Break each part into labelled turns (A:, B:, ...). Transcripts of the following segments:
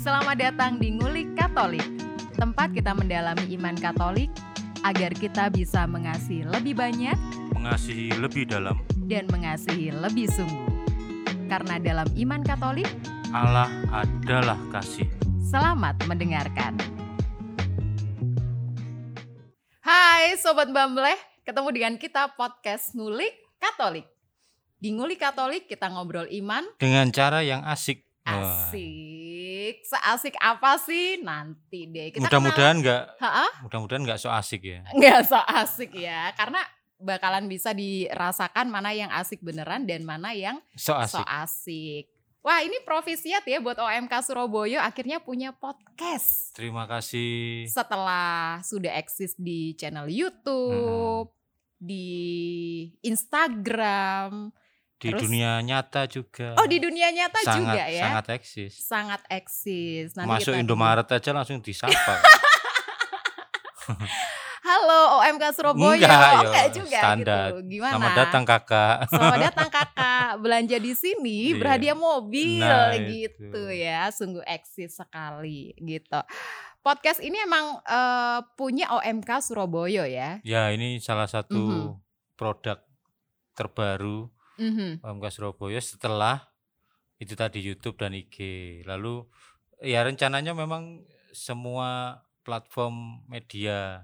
A: Selamat datang di Ngulik Katolik, tempat kita mendalami iman Katolik agar kita bisa mengasihi lebih banyak
B: mengasihi lebih dalam
A: dan mengasihi lebih sungguh. Karena dalam iman Katolik,
B: Allah adalah kasih.
A: selamat mendengarkan. Hai Sobat Bambleh, ketemu dengan kita podcast Ngulik Katolik. Di Ngulik Katolik kita ngobrol iman,
B: Dengan cara yang asik. Wah,
A: asik. Seasik apa sih nanti deh. Kita
B: Mudah-mudahan nggak,
A: kenalan- Ha-ha.
B: mudah-mudahan nggak so asik ya.
A: nggak so asik ya karena bakalan bisa dirasakan mana yang asik beneran dan mana yang
B: So
A: so
B: asik.
A: asik wah ini provisiat ya buat OMK Surabaya akhirnya punya podcast
B: Terima kasih.
A: setelah sudah eksis di channel YouTube
B: Hmm.
A: di Instagram
B: Di
A: Terus-
B: dunia nyata juga.
A: oh di dunia nyata
B: sangat,
A: juga ya
B: Sangat eksis.
A: sangat eksis
B: Masuk
A: kita-
B: Indomaret aja langsung disapa.
A: halo OMK Surabaya
B: Enggak,
A: Oh,
B: ya,
A: enggak juga
B: standar.
A: gitu gimana
B: Selamat datang kakak.
A: Selamat datang kakak belanja di sini
B: Iya.
A: berhadiah mobil
B: Nah,
A: gitu
B: itu.
A: ya sungguh eksis sekali gitu podcast ini emang eh, punya OMK Surabaya ya
B: Ya ini salah satu
A: Mhm.
B: produk terbaru
A: Mhm.
B: OMK Surabaya setelah itu tadi YouTube dan IG. Lalu ya rencananya memang semua platform media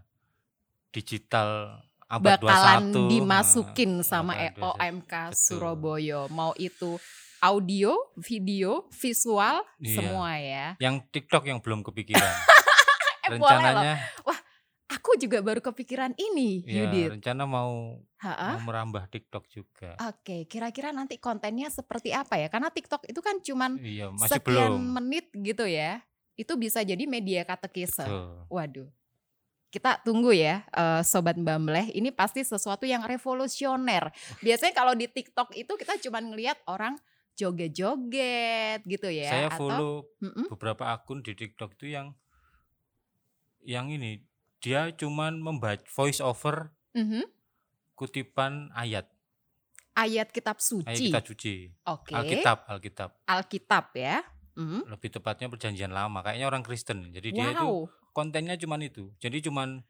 B: digital abad
A: bakalan
B: 21
A: dimasukin
B: nah,
A: sama E-
B: abad 21.
A: OMK
B: Betul.
A: Surabaya mau itu audio video visual
B: Iya.
A: semua ya
B: Yang TikTok yang belum kepikiran.
A: eh, boleh loh
B: rencananya
A: aku juga baru kepikiran ini
B: ya,
A: Yudit
B: rencana mau,
A: Ha-ah.
B: mau merambah TikTok juga.
A: Oke, kira-kira nanti kontennya seperti apa ya? Karena TikTok itu kan cuman
B: Iya, masih
A: sekian
B: belum.
A: menit gitu ya. Itu bisa jadi media katekese.
B: Betul.
A: Waduh. Kita tunggu ya eh, sobat Bambleh, ini pasti sesuatu yang revolusioner. Biasanya kalau di TikTok itu kita cuman ngelihat orang joget-joget gitu ya
B: Saya
A: atau
B: follow
A: Mm-mm.
B: beberapa akun di TikTok itu yang yang ini dia cuman membaca voice over
A: Mhm.
B: kutipan ayat
A: ayat kitab
B: ayat
A: suci.
B: kita cuci
A: Oke, Alkitab.
B: Alkitab Alkitab
A: ya. Mm.
B: lebih tepatnya perjanjian lama kayaknya orang Kristen jadi dia itu
A: Wow.
B: kontennya cuman itu jadi cuman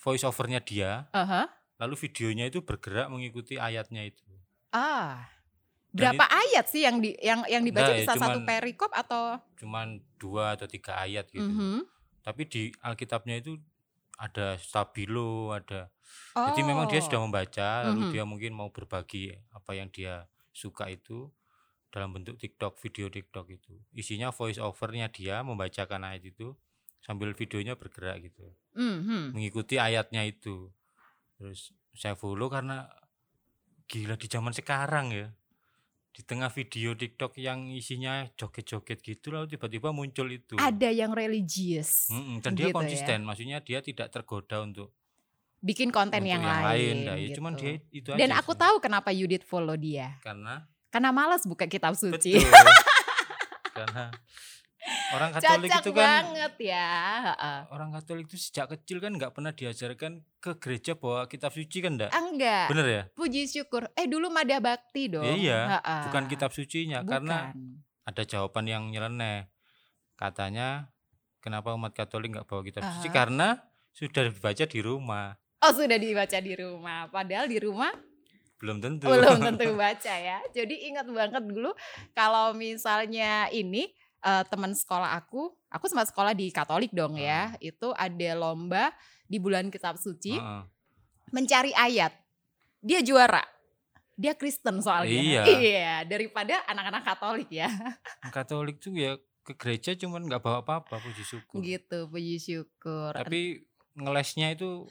B: voice overnya dia
A: Aha.
B: lalu videonya itu bergerak mengikuti ayatnya itu
A: Ah.
B: Dan
A: Berapa ayat sih yang di yang yang dibaca
B: Enggak ya,
A: bisa satu
B: cuman-
A: perikop atau
B: cuman dua atau tiga ayat gitu
A: Mhm.
B: tapi di Alkitabnya itu ada stabilo ada Jadi memang dia sudah
A: Oh.
B: membaca, lalu
A: Mhm.
B: dia mungkin mau berbagi apa yang dia suka itu dalam bentuk TikTok, video TikTok itu. Isinya voice overnya dia membacakan ayat itu sambil videonya bergerak gitu,
A: Mhm.
B: mengikuti ayatnya itu. Terus saya follow karena gila di zaman sekarang ya. Di tengah video TikTok yang isinya joget-joget gitu lalu tiba-tiba muncul itu.
A: ada yang religius
B: Mm-mm, dan
A: gitu
B: dia
A: ya.
B: konsisten, maksudnya dia tidak tergoda untuk
A: bikin konten
B: untuk
A: yang, lain,
B: Nah, ya cuman
A: gitu.
B: dia itu
A: dan
B: aja
A: aku
B: sih.
A: tahu kenapa Yudit follow dia
B: karena
A: karena malas buka kitab suci
B: Betul. Karena orang Katolik
A: cocok
B: itu kan
A: banget ya heeh.
B: orang Katolik itu sejak kecil kan nggak pernah diajarkan ke gereja bahwa kitab suci kan enggak?
A: enggak
B: Bener ya?
A: puji syukur eh dulu Mada Bakti dong
B: Iya,
A: heeh.
B: Bukan kitab sucinya
A: ah.
B: karena
A: Bukan.
B: ada jawaban yang nyeleneh. Katanya kenapa umat Katolik nggak bawa kitab suci?
A: Aha.
B: Karena sudah dibaca di rumah.
A: oh sudah dibaca di rumah padahal di rumah
B: Belum tentu.
A: Oh, belum tentu baca ya. Jadi ingat banget dulu kalau misalnya ini eh, teman sekolah aku, aku sempat sekolah di Katolik dong
B: Ah.
A: ya. Itu ada lomba di bulan kitab suci
B: Heeh.
A: mencari ayat. Dia juara. Dia Kristen soalnya.
B: Iya.
A: daripada anak-anak Katolik ya.
B: Katolik tuh ya ke gereja cuman nggak bawa apa-apa puji syukur.
A: Gitu, puji syukur.
B: Tapi ngelesnya itu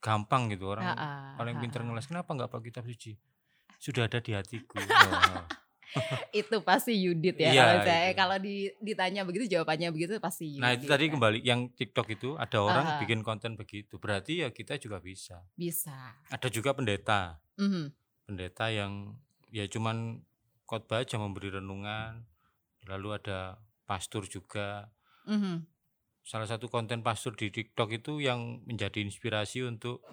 B: gampang gitu orang.
A: Ha-ha,
B: paling pinter
A: ha-ha.
B: ngeles kenapa nggak pakai kitab suci sudah ada di hatiku Nah, Wah.
A: Itu pasti Yudit ya.
B: Iya,
A: kalau saya
B: itu.
A: kalau di- ditanya begitu jawabannya begitu pasti Yudit.
B: nah itu tadi
A: ya.
B: kembali yang TikTok itu ada orang
A: Ha-ha.
B: bikin konten begitu berarti ya kita juga bisa
A: bisa.
B: ada juga pendeta
A: Mhm.
B: pendeta yang ya cuman khotbah aja memberi renungan lalu ada pastor juga
A: mhm.
B: salah satu konten pastor di TikTok itu yang menjadi inspirasi untuk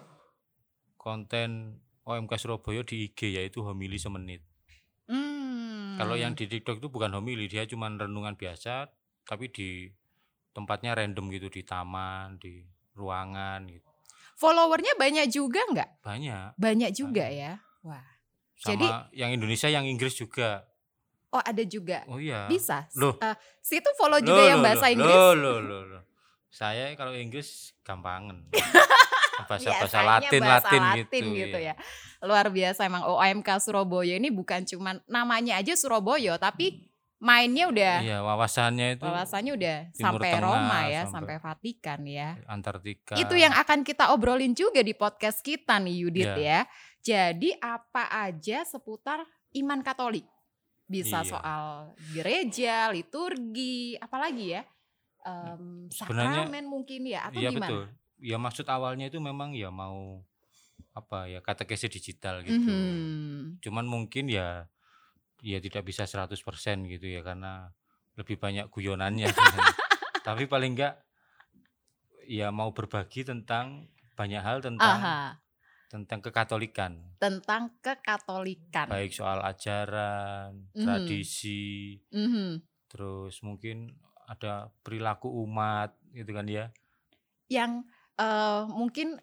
B: konten OMK Surabaya di IG yaitu homili semenit
A: Hmm. Mhm.
B: Kalau yang di TikTok itu bukan homili, dia cuma renungan biasa tapi di tempatnya random gitu di taman di ruangan gitu
A: Followernya banyak juga nggak?
B: banyak
A: Banyak juga
B: Banyak.
A: ya.
B: sama
A: Jadi-
B: yang Indonesia yang Inggris juga
A: Oh ada juga.
B: oh iya
A: Bisa.
B: Loh.
A: Eh, situ follow
B: Loh,
A: juga yang
B: loh,
A: bahasa
B: loh,
A: Inggris.
B: loh, loh, loh, loh. saya kalau Inggris gampangan bahasa bahasa
A: Biasanya
B: Latin
A: Iya, bahasa
B: Latin,
A: Latin
B: gitu,
A: ya. Luar biasa emang OMK Surabaya ini bukan cuman namanya aja Surabaya tapi mainnya udah
B: Hmm. iya wawasannya itu
A: wawasannya udah
B: Timur
A: sampai
B: Tengah,
A: Roma ya, sampai,
B: sampai-
A: Vatikan ya.
B: Antartika
A: Itu yang akan kita obrolin juga di podcast kita nih Yudit
B: Iya.
A: ya. Jadi apa aja seputar iman Katolik. Bisa
B: Iya.
A: soal gereja, liturgi, apalagi ya. Em,
B: Sebenarnya-
A: sakramen mungkin ya atau
B: Iya
A: gimana?
B: betul. Ya maksud awalnya itu memang ya mau apa ya katekesi digital gitu.
A: Mhm.
B: Cuman mungkin ya ya tidak bisa 100% gitu ya karena lebih banyak guyonannya. Tapi paling enggak ya mau berbagi tentang banyak hal tentang
A: Aha,
B: tentang kekatolikan,
A: tentang kekatolikan.
B: baik soal ajaran,
A: Mhm.
B: tradisi,
A: Mhm.
B: terus mungkin ada perilaku umat gitu kan ya.
A: Yang eh, mungkin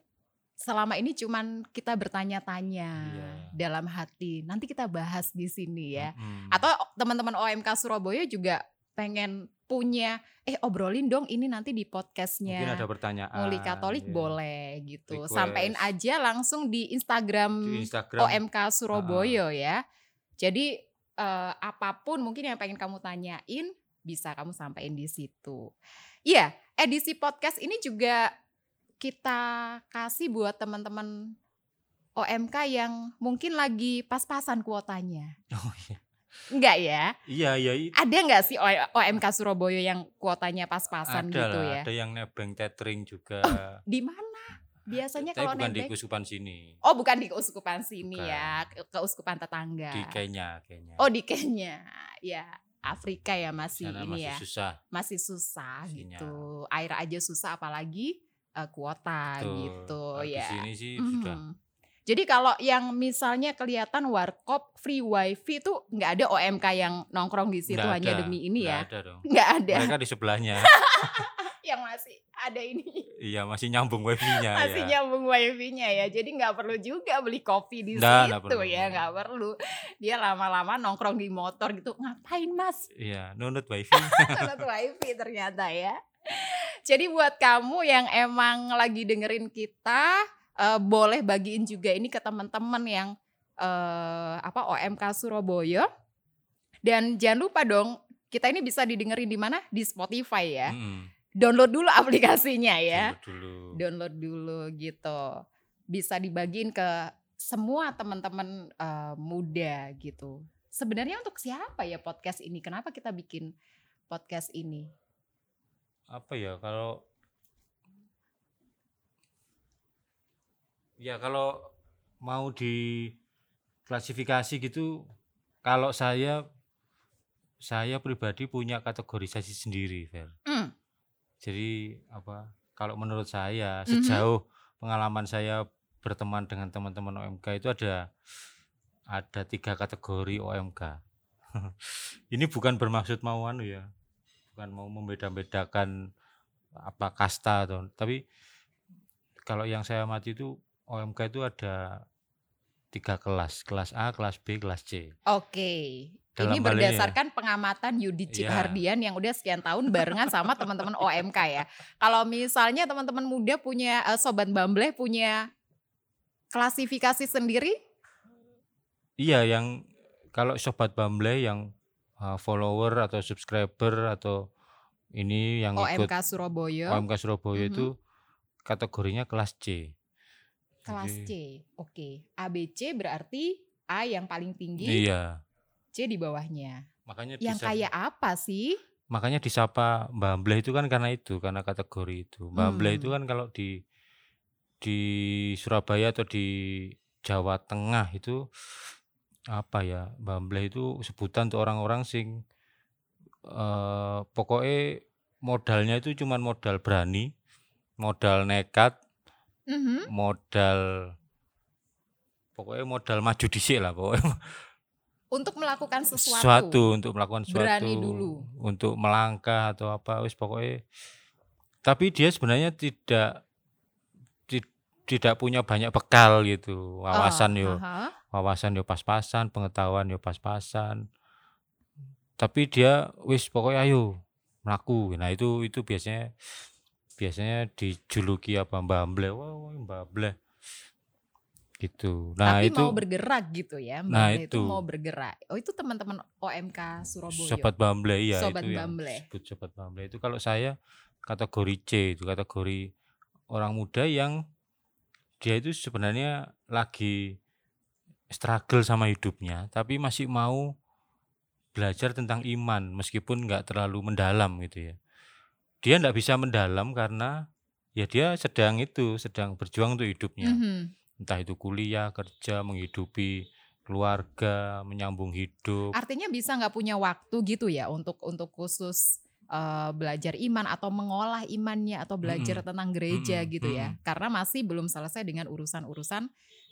A: selama ini cuman kita bertanya-tanya
B: Iya.
A: dalam hati. Nanti kita bahas di sini ya.
B: Mhm.
A: Atau teman-teman OMK Surabaya juga pengen punya eh obrolin dong ini nanti di
B: mungkin ada
A: podcastnya
B: pertanyaan.
A: ya, Muli Katolik
B: ya.
A: boleh gitu.
B: Request.
A: Sampaikan aja langsung di Instagram
B: di Instagram
A: OMK Surabaya ya. Jadi eh, apapun mungkin yang pengen kamu tanyain bisa kamu sampaikan di situ. Iya, edisi podcast ini juga kita kasih buat teman-teman OMK yang mungkin lagi pas-pasan kuotanya.
B: Oh, iya.
A: Enggak ya?
B: iya iya i-
A: Ada enggak sih O- OMK Surabaya yang kuotanya
B: ada
A: pas-pasan gitu
B: lah
A: ya?
B: ada yang nebeng tethering juga
A: Di mana? Biasanya
B: tapi
A: kalau
B: bukan di
A: nebeng.
B: kusupan sini
A: Oh, bukan di keuskupan sini
B: Bukan.
A: ya, ke- keuskupan tetangga.
B: di Kenya Kenya
A: Iya. Oh di Kenya, ya Afrika ya masih
B: sana
A: ini
B: masih
A: ya,
B: susah
A: masih susah
B: Sinyal.
A: gitu. Air aja susah apalagi eh, kuota
B: Tuh,
A: gitu
B: kalau
A: ya.
B: di sini sih
A: Mhm.
B: sudah
A: Jadi kalau yang misalnya kelihatan warkop free wifi itu nggak ada OMK yang nongkrong di situ
B: nggak
A: hanya
B: ada,
A: demi ini
B: nggak
A: ya,
B: ada dong
A: nggak ada
B: mereka di sebelahnya
A: yang masih ada ini
B: iya masih nyambung wifi-nya
A: masih
B: ya
A: nyambung wifi-nya ya. Jadi nggak perlu juga beli kopi di
B: Nggak, nggak
A: situ
B: perlu.
A: ya, nggak perlu. Dia lama-lama nongkrong di motor gitu, ngapain mas?
B: iya nunut wifi
A: Sangat wifi ternyata ya. Jadi buat kamu yang emang lagi dengerin kita, eh, boleh bagiin juga ini ke teman-teman yang eh, apa OMK Surabaya. Dan jangan lupa dong, kita ini bisa didengerin di mana? Di Spotify ya.
B: Mhm.
A: Download dulu aplikasinya ya.
B: Tunggu dulu
A: Download dulu gitu. Bisa dibagiin ke semua teman-teman eh, muda gitu. Sebenarnya untuk siapa ya podcast ini? Kenapa kita bikin podcast ini?
B: apa ya kalau ya kalau mau diklasifikasi gitu kalau saya saya pribadi punya kategorisasi sendiri Fer.
A: Hmm.
B: Jadi apa kalau menurut saya
A: Mhm.
B: sejauh pengalaman saya berteman dengan teman-teman OMK itu ada ada tiga kategori OMK. Ini bukan bermaksud mau anu ya, bukan mau membeda-bedakan apa kasta atau tapi kalau yang saya mati itu OMK itu ada tiga kelas, kelas A, kelas B, kelas C.
A: Oke.
B: Dalam
A: ini
B: hal ini ya.
A: berdasarkan pengamatan Yudi
B: Iya.
A: Cihardian yang udah sekian tahun barengan sama teman-teman OMK ya. Kalau misalnya teman-teman muda punya eh, sobat Bambleh punya klasifikasi sendiri,
B: Iya, yang kalau sobat Bamble yang uh, follower atau subscriber atau ini yang ikut
A: OMK Surabaya
B: OMK Surabaya
A: Mhm.
B: itu kategorinya kelas C.
A: kelas
B: Jadi,
A: C. Oke. ABC berarti A yang paling tinggi,
B: Iya,
A: C di bawahnya.
B: makanya
A: Yang
B: disapa-
A: kayak apa sih?
B: makanya disapa Bamble itu kan karena itu, karena kategori itu. Bamble
A: Hmm.
B: itu kan kalau di di Surabaya atau di Jawa Tengah itu apa ya? Bamble itu sebutan untuk orang-orang sing eh pokoknya modalnya itu cuman modal berani, modal nekat,
A: Mhm.
B: modal pokoknya modal maju dhisik lah pokoknya
A: untuk melakukan sesuatu.
B: sesuatu untuk melakukan sesuatu
A: Berani dulu.
B: untuk melangkah atau apa wis pokoknya tapi dia sebenarnya tidak ti- tidak punya banyak bekal gitu wawasan
A: Ah,
B: yo
A: aha.
B: wawasan yo pas-pasan pengetahuan yo pas-pasan tapi dia wis pokoknya ayo melaku nah itu itu biasanya biasanya dijuluki apa mbak Mble wah wah, mbak Mble gitu nah
A: Tapi
B: itu
A: mau bergerak gitu ya. Mbak
B: Nah,
A: Mbe itu.
B: itu.
A: mau bergerak. Oh itu teman-teman OMK Surabaya.
B: Sobat Bamble iya
A: Sobat
B: itu
A: Bamble.
B: yang disebut Sobat Bamble itu kalau saya kategori C itu kategori orang muda yang dia itu sebenarnya lagi struggle sama hidupnya tapi masih mau belajar tentang iman meskipun nggak terlalu mendalam gitu ya dia nggak bisa mendalam karena ya dia sedang itu sedang berjuang untuk hidupnya
A: Mhm.
B: entah itu kuliah kerja menghidupi keluarga menyambung hidup
A: Artinya bisa nggak punya waktu gitu ya untuk untuk khusus eh, belajar iman atau mengolah imannya
B: Mhm.
A: atau belajar
B: Mm-mm.
A: tentang gereja
B: Mm-mm,
A: gitu ya. Karena masih belum selesai dengan urusan-urusan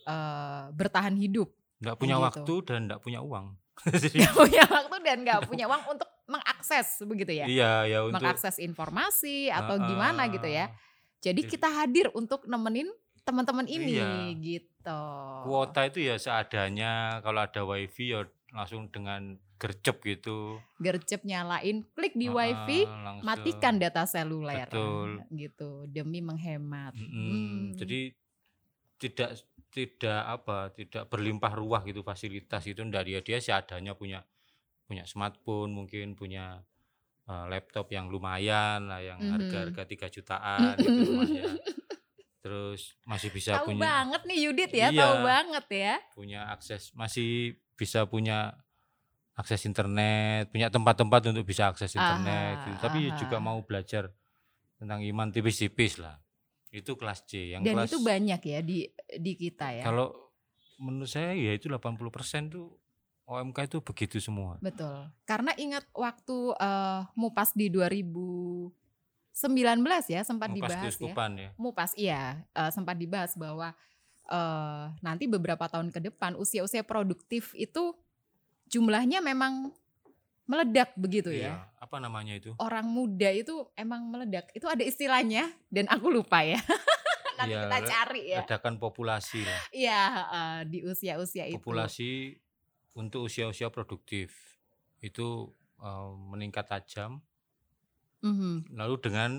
A: eh, bertahan hidup.
B: nggak punya
A: gitu.
B: waktu dan nggak punya uang Jadi,
A: Nggak punya waktu dan nggak punya uang untuk mengakses begitu ya.
B: iya ya untuk
A: Mengakses informasi atau
B: Ah,
A: gimana gitu ya. Jadi
B: Jadi-
A: kita hadir untuk nemenin teman-teman ini
B: Iya.
A: gitu.
B: kuota itu ya seadanya kalau ada wifi ya langsung dengan gercep gitu
A: Gercep nyalain, klik di
B: Ah,
A: wifi,
B: langsung.
A: matikan data seluler
B: Betul.
A: gitu demi menghemat.
B: Mm-mm,
A: Hmm.
B: jadi tidak tidak apa tidak berlimpah ruah gitu fasilitas itu dari dia seadanya punya punya smartphone mungkin punya eh, laptop yang lumayan lah yang
A: Mhm.
B: harga-harga 3 jutaan gitu
A: Mm-mm.
B: lumayan terus masih bisa
A: tahu
B: punya
A: banget nih Yudit ya,
B: Iya.
A: tahu banget ya.
B: punya akses masih bisa punya akses internet, punya tempat-tempat untuk bisa akses internet.
A: Aha,
B: gitu. Tapi ya juga
A: aha.
B: mau belajar tentang iman tipis-tipis lah. Itu kelas C. Yang
A: Dan
B: kelas
A: itu banyak ya di di kita ya.
B: kalau menurut saya ya itu 80% tuh OMK itu begitu semua.
A: Betul. Karena ingat waktu eh, Mupas di 2019 ya sempat
B: Mukas
A: dibahas ya.
B: keuskupan ya.
A: Mupas iya eh, sempat dibahas bahwa eh, nanti beberapa tahun ke depan usia-usia produktif itu jumlahnya memang meledak begitu ya.
B: Iya, Apa namanya itu?
A: orang muda itu emang meledak. Itu ada istilahnya dan aku lupa ya. Nanti
B: Iya,
A: kita
B: le-
A: cari ya.
B: Ledakan populasi lah.
A: Iya, heeh, di usia-usia itu.
B: populasi untuk usia-usia produktif itu eh, meningkat tajam
A: Mhm.
B: lalu dengan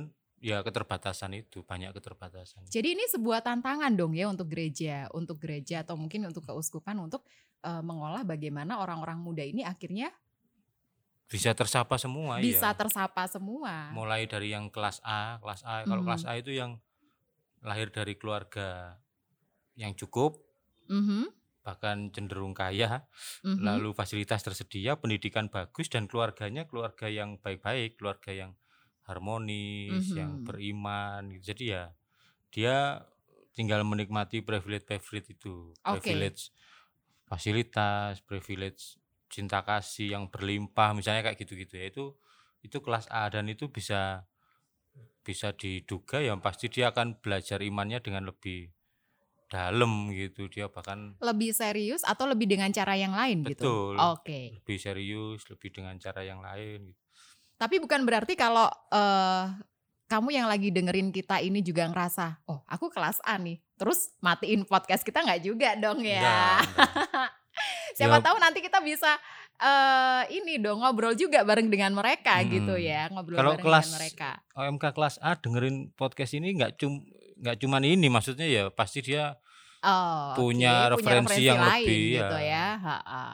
B: ya keterbatasan itu banyak keterbatasan
A: Jadi ini sebuah tantangan dong ya untuk gereja, untuk gereja atau mungkin untuk keuskupan untuk eh, mengolah bagaimana orang-orang muda ini akhirnya
B: bisa tersapa semua
A: bisa
B: ya
A: tersapa semua.
B: mulai dari yang kelas A kelas A kalau
A: Mhm.
B: kelas A itu yang lahir dari keluarga yang cukup
A: Mhm,
B: bahkan cenderung kaya
A: mhm.
B: lalu fasilitas tersedia pendidikan bagus dan keluarganya keluarga yang baik-baik keluarga yang harmonis yang
A: Mhm.
B: beriman gitu. jadi ya dia tinggal menikmati privilege privilege itu
A: Oke.
B: privilege fasilitas privilege cinta kasih yang berlimpah misalnya kayak gitu-gitu ya itu itu kelas A dan itu bisa bisa diduga yang pasti dia akan belajar imannya dengan lebih dalam gitu dia bahkan
A: lebih serius atau lebih dengan cara yang lain gitu.
B: Betul.
A: Oke.
B: lebih serius, lebih dengan cara yang lain gitu.
A: Tapi bukan berarti kalau eh kamu yang lagi dengerin kita ini juga ngerasa, oh aku kelas A nih, terus matiin podcast kita nggak juga dong ya.
B: Enggak, enggak.
A: Siapa
B: Ya,
A: tahu nanti kita bisa eh ini dong ngobrol juga bareng dengan mereka
B: Mm-mm.
A: gitu ya, ngobrol
B: Hmm. Kalau
A: bareng
B: kelas-
A: dengan mereka.
B: OMK kelas A dengerin podcast ini nggak cum nggak cuman ini maksudnya ya pasti dia
A: Oh, oke,
B: punya referensi yang
A: lain
B: lebih, ya.
A: gitu ya. Ha-ha.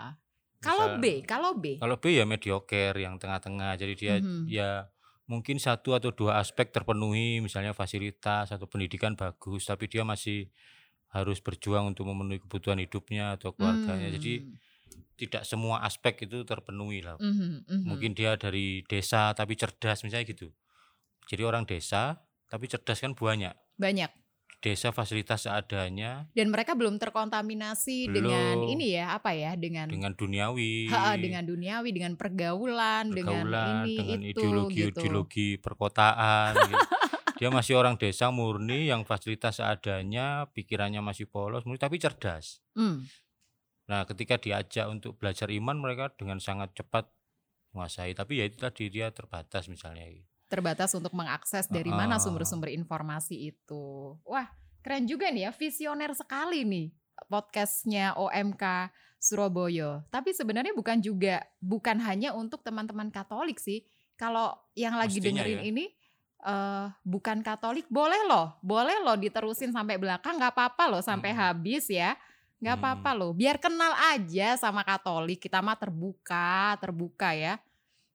A: Kalau
B: misal-
A: B, kalau B,
B: kalau B ya mediocre yang tengah-tengah. Jadi dia
A: Mhm.
B: ya mungkin satu atau dua aspek terpenuhi misalnya fasilitas atau pendidikan bagus tapi dia masih harus berjuang untuk memenuhi kebutuhan hidupnya atau
A: Hmm.
B: keluarganya. ya, Jadi tidak semua aspek itu terpenuhi lah.
A: Mhm, mhm.
B: mungkin dia dari desa tapi cerdas misalnya gitu jadi orang desa tapi cerdas kan banyak
A: banyak
B: desa fasilitas seadanya
A: dan mereka belum terkontaminasi dengan
B: Belum.
A: ini ya apa ya dengan
B: dengan duniawi
A: Ha, dengan duniawi, dengan pergaulan, dengan
B: Iya. pergaulan
A: ini
B: dengan
A: itu
B: ideologi
A: gitu.
B: ideologi perkotaan gitu. dia masih orang desa murni yang fasilitas seadanya pikirannya masih polos murni tapi cerdas
A: Hmm,
B: Nah, ketika diajak untuk belajar iman mereka dengan sangat cepat menguasai. Tapi ya itu tadi dia terbatas misalnya. gitu.
A: terbatas untuk mengakses dari mana
B: Ah.
A: sumber-sumber informasi itu. Wah, keren juga nih ya, visioner sekali nih podcastnya OMK Surabaya. Tapi sebenarnya bukan juga, bukan hanya untuk teman-teman Katolik sih. Kalau yang lagi
B: Mestinya
A: dengerin
B: ya.
A: ini eh bukan Katolik, boleh loh, boleh loh diterusin sampai belakang, nggak apa-apa loh sampai
B: Mm-mm.
A: habis ya. Nggak
B: Mm-mm.
A: apa-apa loh, biar kenal aja sama Katolik. Kita mah terbuka, terbuka ya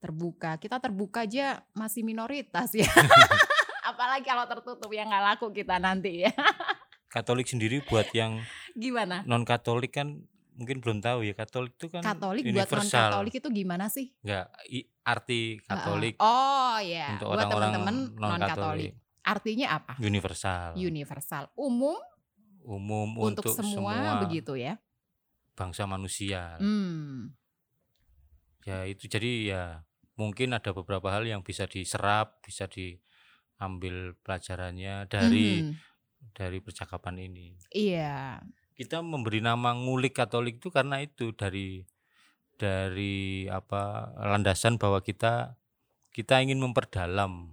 A: terbuka. Kita terbuka aja masih minoritas ya. Apalagi kalau tertutup yang nggak laku kita nanti ya.
B: Katolik sendiri buat yang
A: Gimana?
B: non Katolik kan mungkin belum tahu ya. Katolik itu kan
A: Katolik buat non
B: universal.
A: Katolik itu gimana sih?
B: Enggak, i- arti Katolik
A: Oh ya.
B: untuk
A: buat
B: orang-orang
A: teman-teman
B: non
A: non Katolik.
B: Katolik.
A: Artinya apa?
B: Universal.
A: Universal, umum
B: umum
A: untuk, semua, begitu ya.
B: bangsa manusia.
A: Hmm.
B: Ya itu jadi ya mungkin ada beberapa hal yang bisa diserap, bisa diambil pelajarannya dari
A: Mhm.
B: dari percakapan ini.
A: iya.
B: Kita memberi nama ngulik Katolik itu karena itu dari dari apa landasan bahwa kita kita ingin memperdalam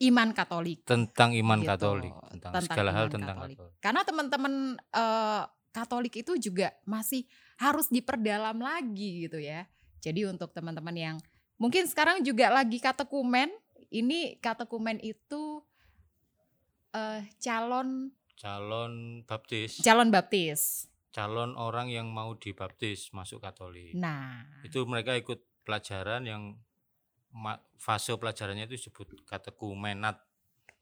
A: Iman Katolik.
B: tentang iman
A: Gitu,
B: Katolik, tentang,
A: tentang
B: segala hal
A: iman
B: tentang
A: Katolik.
B: Katolik.
A: Karena teman-teman eh, Katolik itu juga masih harus diperdalam lagi gitu ya. Jadi untuk teman-teman yang mungkin sekarang juga lagi katekumen, ini katekumen itu eh, calon
B: Calon baptis,
A: calon baptis.
B: calon orang yang mau dibaptis masuk Katolik.
A: Nah,
B: itu mereka ikut pelajaran yang ma- fase pelajarannya itu disebut katekumenat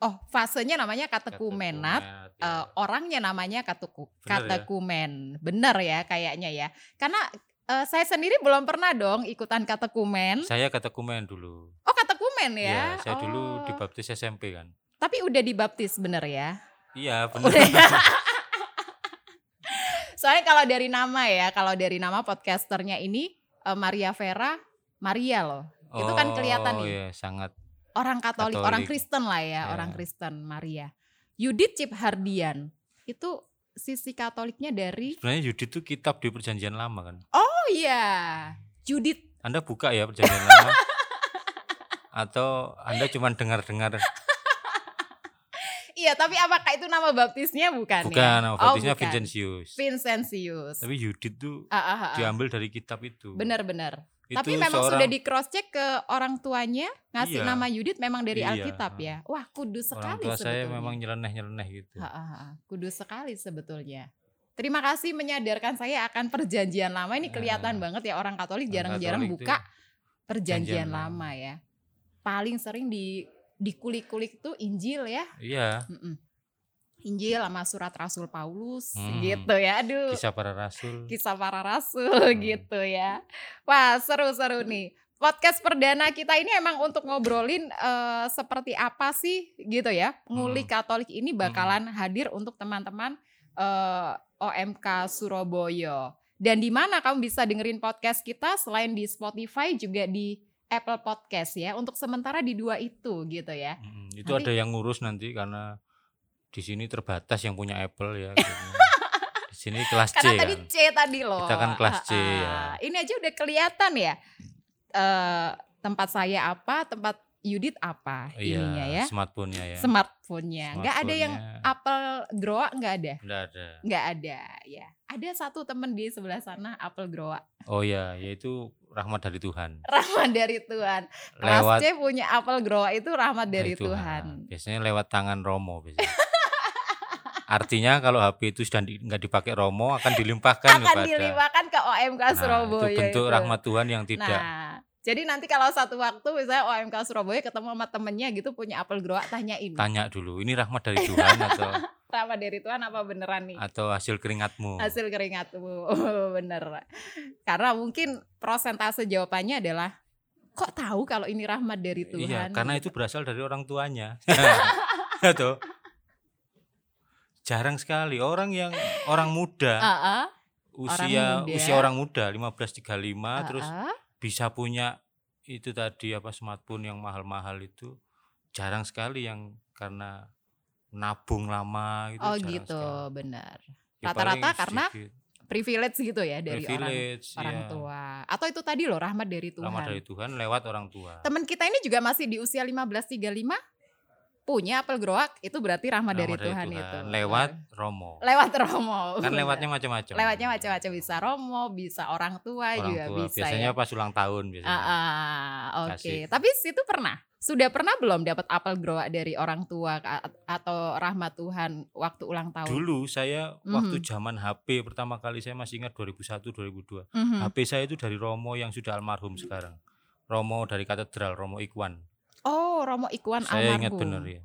A: oh fasenya namanya katekumenat.
B: katekumenat, ya.
A: Eh, orangnya namanya katuku,
B: Bener ya?
A: katekumen. Bener ya kayaknya ya. Karena eh, saya sendiri belum pernah dong ikutan katekumen.
B: saya katekumen dulu Iya,
A: Oh katekumen hmm? ya?
B: saya dulu
A: Oh.
B: dibaptis SMP kan
A: Tapi udah dibaptis bener ya?
B: iya benar
A: Udah ya? Soalnya kalau dari nama ya, kalau dari nama podcasternya ini eh, Maria Vera, Maria loh. Itu kan kelihatan
B: oh,
A: nih.
B: iya, sangat
A: Orang Katolik,
B: Katolik.
A: orang Kristen lah ya,
B: Ya.
A: orang Kristen Maria. Yudit Ciphardian. Itu sisi Katoliknya dari
B: sebenarnya Yudit itu kitab di perjanjian lama kan
A: Oh iya, Judit.
B: Anda buka ya perjanjian lama atau Anda cuma dengar-dengar
A: Iya, tapi apakah itu nama baptisnya bukan,
B: bukan
A: ya?
B: nama
A: Oh,
B: baptisnya
A: bukan.
B: Vincentius
A: Vincentius.
B: tapi Yudit tuh
A: Ah, ah, ah, ah.
B: diambil dari kitab itu
A: Benar-benar.
B: Itu
A: Tapi memang
B: seorang-
A: sudah di cross check ke orang tuanya ngasih
B: Iya.
A: nama Yudit memang dari
B: Iya,
A: Alkitab ya. Wah, kudus
B: orang
A: sekali
B: tua saya
A: sebetulnya.
B: memang nyeleneh-nyeleneh gitu
A: Ha, ha, ha. Kudus sekali sebetulnya. Terima kasih menyadarkan saya akan perjanjian lama ini kelihatan
B: Eh,
A: banget ya orang Katolik
B: Orang
A: jarang-jarang
B: Katolik tuh
A: buka perjanjian
B: perjanjian
A: lama ya. Paling sering di dikulik-kulik tuh Injil ya.
B: Iya,
A: Mm-mm. Injil sama surat Rasul Paulus
B: Hmm.
A: gitu ya. Aduh.
B: kisah para rasul.
A: kisah para rasul
B: Hmm.
A: gitu ya. Wah seru-seru nih. Podcast perdana kita ini emang untuk ngobrolin eh, seperti apa sih gitu ya. Ngulik Katolik ini bakalan hadir untuk teman-teman eh, OMK Surabaya. Dan di mana kamu bisa dengerin podcast kita selain di Spotify juga di Apple Podcast ya. Untuk sementara di dua itu gitu ya.
B: Mm, itu
A: Nanti-
B: ada yang ngurus nanti karena di sini terbatas yang punya Apple ya. akhirnya. di sini kelas C
A: Karena
B: kan.
A: tadi C tadi loh.
B: Kita kan kelas C,
A: Ah, ah.
B: ya.
A: Ini aja udah kelihatan ya. eh tempat saya apa, tempat Yudit apa ininya ya.
B: Iya, smartphone-nya Oh ya.
A: Smartphone-nya. Nggak ada yang
B: Smartphone-nya.
A: Apple Groa nggak ada.
B: Nggak ada.
A: Nggak ada ya. Ada satu temen di sebelah sana Apple Groa.
B: Oh ya, yaitu rahmat dari Tuhan.
A: Rahmat dari Tuhan. Kelas
B: Lewat
A: C punya Apple Groa itu rahmat dari Tuhan.
B: Biasanya lewat tangan Romo biasanya. Artinya kalau HP itu sudah di- nggak dipakai Romo akan dilimpahkan
A: Akan
B: kepada
A: dilimpahkan ke OMK
B: Kan Nah,
A: Surabaya.
B: itu bentuk
A: itu.
B: rahmat Tuhan yang tidak
A: Nah, jadi nanti kalau satu waktu misalnya OMK Surabaya ketemu sama temennya gitu punya apel groa tanya ini.
B: tanya dulu ini rahmat dari Tuhan atau
A: Rahmat dari Tuhan apa beneran nih?
B: atau hasil keringatmu.
A: Hasil keringatmu. Oh, Bener. Karena mungkin prosentase jawabannya adalah kok tahu kalau ini rahmat dari Tuhan?
B: Iya, karena itu berasal dari orang tuanya. Atau jarang sekali orang yang orang muda
A: Ah, ah,
B: usia
A: muda.
B: usia orang muda 15 35
A: ah,
B: terus
A: ah.
B: bisa punya itu tadi apa smartphone yang mahal-mahal itu jarang sekali yang karena nabung lama gitu.
A: Oh
B: jarang
A: gitu,
B: sekali.
A: benar.
B: Ya,
A: Rata-rata
B: paling
A: karena
B: sedikit.
A: privilege gitu ya dari orang
B: privilege
A: orang
B: ya.
A: tua. Atau itu tadi loh rahmat dari Tuhan.
B: Rahmat dari Tuhan lewat orang tua.
A: Teman kita ini juga masih di usia 1535 punya apel growak itu berarti rahmat, dari, Tuhan, itu.
B: Lewat Romo.
A: lewat Romo.
B: Kan
A: bener.
B: lewatnya macam-macam.
A: Oh, iya. lewatnya macam-macam bisa Romo, bisa orang tua
B: Orang
A: juga
B: tua.
A: bisa
B: biasanya
A: ya.
B: pas ulang tahun biasanya.
A: Ah, ah, oke.
B: Kasih.
A: Tapi situ pernah sudah pernah belum dapat apel growak dari orang tua a- atau rahmat Tuhan waktu ulang tahun?
B: Dulu saya waktu
A: Mhm.
B: zaman HP pertama kali saya masih ingat 2001 2002.
A: Mhm.
B: HP saya itu dari Romo yang sudah almarhum sekarang. Romo dari katedral Romo Ikwan.
A: Oh, Romo Ikwan
B: saya
A: almarhum.
B: ingat bener ya.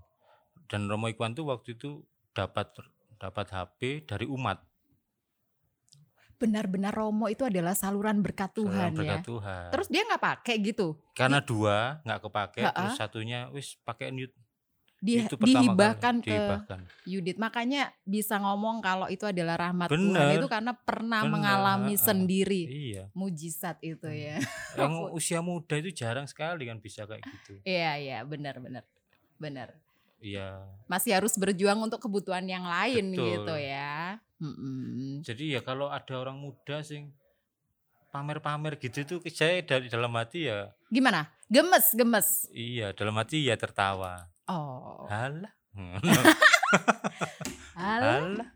B: Dan Romo Ikwan tuh waktu itu dapat dapat HP dari umat
A: Benar-benar Romo itu adalah saluran berkat Tuhan
B: Saudara berkat
A: ya.
B: Tuhan.
A: Terus dia nggak pakai gitu.
B: karena dua nggak kepake
A: Ha-ha.
B: terus satunya wis pakai newt
A: Di,
B: itu pertama
A: dihibahkan
B: kali.
A: ke
B: dihibahkan.
A: Yudit. Makanya bisa ngomong kalau itu adalah rahmat Tuhan
B: Bener.
A: itu karena pernah
B: Bener,
A: mengalami
B: ah, ah.
A: sendiri
B: iya Hmm.
A: mujizat itu ya.
B: yang usia muda itu jarang sekali kan bisa kayak gitu
A: Iya, iya, benar-benar. Benar.
B: iya
A: Masih harus berjuang untuk kebutuhan yang lain
B: Betul.
A: gitu ya. Mm-mm.
B: jadi ya kalau ada orang muda sing pamer-pamer gitu tuh saya dari dalam hati ya
A: Gimana? Gemes, gemes.
B: iya dalam hati ya tertawa
A: Oh.
B: halah Hmm,
A: Hal,
B: halah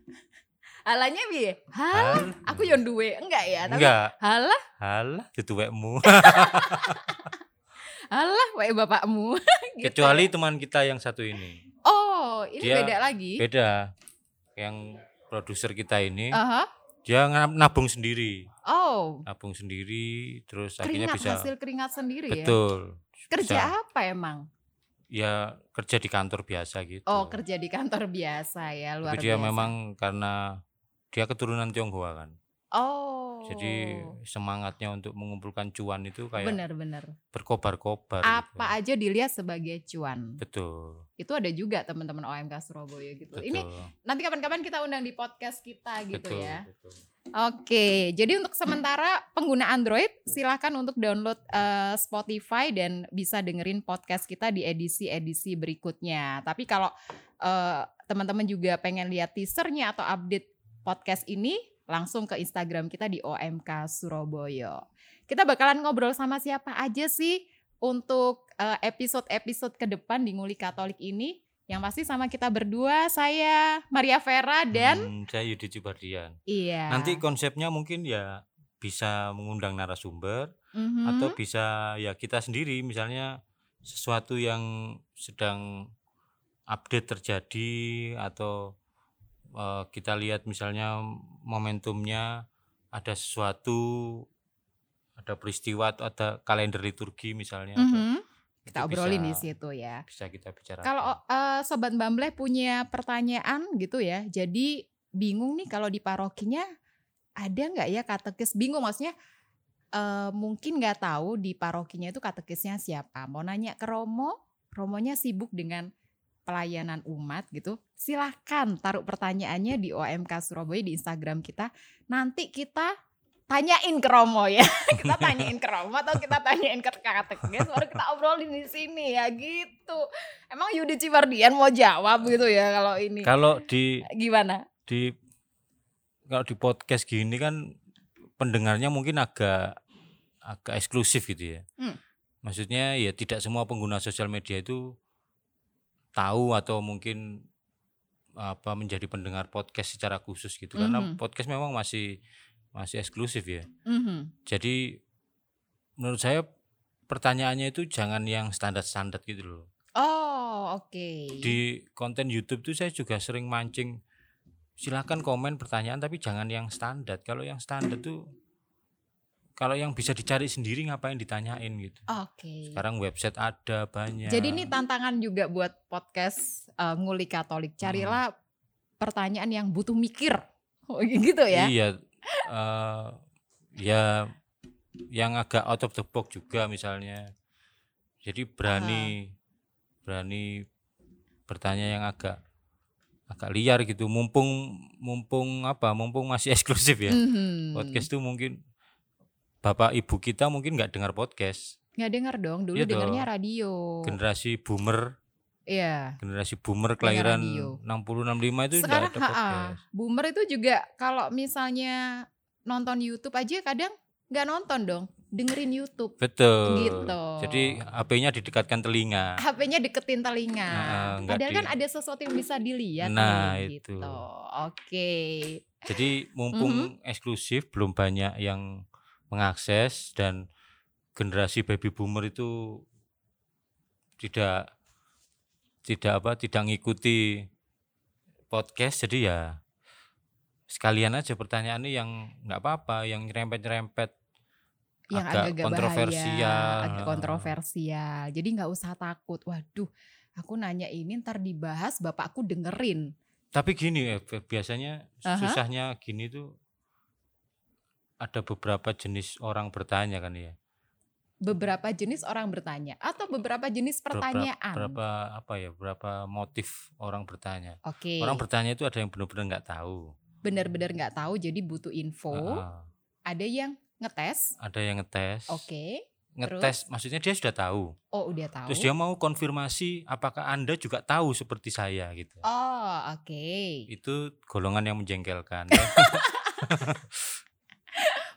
A: halanya bi. Hal,
B: halah
A: aku yang duwe enggak ya? Tapi
B: enggak
A: hal
B: halah tuwekmu
A: gitu Alah, wae bapakmu. Gitu.
B: kecuali teman kita yang satu ini
A: Oh, ini
B: Dia
A: beda lagi.
B: beda yang produser kita ini
A: Aha.
B: dia ngap- nabung sendiri
A: Oh,
B: nabung sendiri terus akhirnya
A: keringat
B: bisa
A: hasil keringat sendiri ya.
B: betul
A: Kerja
B: bisa-
A: apa emang?
B: ya kerja di kantor biasa gitu
A: Oh, kerja di kantor biasa ya, luar
B: tapi dia
A: biasa.
B: memang karena dia keturunan Tionghoa kan
A: Oh.
B: jadi ya, semangatnya untuk mengumpulkan cuan itu kayak
A: benar-benar
B: berkobar-kobar
A: apa aja
B: gitu.
A: dilihat sebagai cuan.
B: betul
A: Itu ada juga teman-teman OMK Surabaya gitu.
B: betul
A: Ini nanti kapan-kapan kita undang di podcast kita gitu
B: betul,
A: ya.
B: betul.
A: Oke, jadi untuk sementara pengguna Android silahkan untuk download eh, Spotify dan bisa dengerin podcast kita di edisi-edisi berikutnya. Tapi kalau eh, teman-teman juga pengen lihat teasernya atau update podcast ini, langsung ke Instagram kita di OMK Surabaya. Kita bakalan ngobrol sama siapa aja sih untuk eh, episode-episode ke depan di Nguli Katolik ini. Yang pasti sama kita berdua, saya Maria Vera dan...
B: Hmm, saya Yudi Jubardian
A: Iya.
B: Hmm. nanti konsepnya mungkin ya bisa mengundang narasumber
A: Mhm.
B: atau bisa ya kita sendiri misalnya sesuatu yang sedang update terjadi atau eh, kita lihat misalnya momentumnya ada sesuatu ada peristiwa atau ada kalender liturgi misalnya ada,
A: Mhm.
B: Iya, itu
A: Kita obrolin di
B: bisa-
A: situ ya.
B: bisa kita bicara
A: Kalau eh, sobat Bambleh punya pertanyaan gitu ya, jadi bingung nih kalau di parokinya ada nggak ya katekis? Bingung maksudnya eh, mungkin nggak tahu di parokinya itu katekisnya siapa. Mau nanya ke Romo, Romonya sibuk dengan pelayanan umat gitu. Silahkan taruh pertanyaannya di OMK Surabaya di Instagram kita. Nanti kita tanyain ke Romo ya. kita tanyain ke Romo atau kita tanyain ke katekis baru kita obrolin di sini ya gitu. Emang Yudi Cibardian mau jawab gitu ya kalau ini?
B: kalau di
A: Gimana?
B: di kalau di podcast gini kan pendengarnya mungkin agak agak eksklusif gitu ya.
A: Hmm.
B: Maksudnya ya tidak semua pengguna sosial media itu tahu atau mungkin apa menjadi pendengar podcast secara khusus gitu karena
A: Mhm.
B: podcast memang masih masih eksklusif ya.
A: Mhm.
B: Jadi menurut saya pertanyaannya itu jangan yang standar-standar gitu loh
A: Oh oke.
B: di konten YouTube tuh saya juga sering mancing silakan komen pertanyaan tapi jangan yang standar kalau yang standar tuh kalau yang bisa dicari sendiri ngapain ditanyain gitu
A: Oke.
B: sekarang ya. website ada
A: Iya.
B: banyak
A: Jadi ini tantangan juga buat podcast eh, Nguli Katolik.
B: Hmm.
A: Carilah pertanyaan yang butuh mikir. Oh, gitu ya.
B: iya eh, ya yang agak out of the box juga misalnya jadi berani berani bertanya yang agak agak liar gitu mumpung mumpung apa mumpung masih eksklusif ya
A: Mhm.
B: podcast tuh mungkin bapak ibu kita mungkin nggak dengar podcast
A: nggak dengar dong dulu
B: Iya dong.
A: dengarnya radio.
B: generasi boomer
A: Iya.
B: generasi boomer kelahiran
A: radio.
B: 60 65 itu nggak
A: Sekarang
B: ada
A: ha-ha,
B: podcast
A: boomer itu juga kalau misalnya nonton YouTube aja kadang nggak nonton dong, dengerin YouTube.
B: Betul.
A: Gitu.
B: Jadi HP-nya didekatkan telinga.
A: HP-nya deketin telinga.
B: Nah, Ah. nggak
A: Padahal
B: di-
A: kan ada sesuatu yang bisa dilihat
B: Nah,
A: nih, gitu.
B: itu.
A: Oke.
B: Jadi mumpung eksklusif belum banyak yang mengakses dan generasi baby boomer itu tidak tidak apa tidak ngikuti podcast jadi ya sekalian aja pertanyaan ini yang nggak apa-apa yang nyerempet-nyerempet
A: yang
B: agak
A: agak, agak
B: kontroversial. Ah.
A: bahaya, agak kontroversial. Jadi nggak usah takut. Waduh, aku nanya ini ntar dibahas bapakku dengerin.
B: tapi gini ya Beb, biasanya
A: Aha.
B: susahnya gini tuh ada beberapa jenis orang bertanya kan ya
A: Beberapa jenis orang bertanya atau beberapa jenis pertanyaan.
B: berapa apa ya berapa motif orang bertanya
A: Oke.
B: orang bertanya itu ada yang benar-benar nggak tahu
A: Bener-bener nggak tahu jadi butuh info.
B: Heeh.
A: Ada yang ngetes.
B: ada yang ngetes
A: Oke.
B: ngetes maksudnya dia sudah tahu
A: Oh, udah tahu.
B: terus dia mau konfirmasi apakah anda juga tahu seperti saya gitu
A: Oh, oke.
B: itu golongan yang menjengkelkan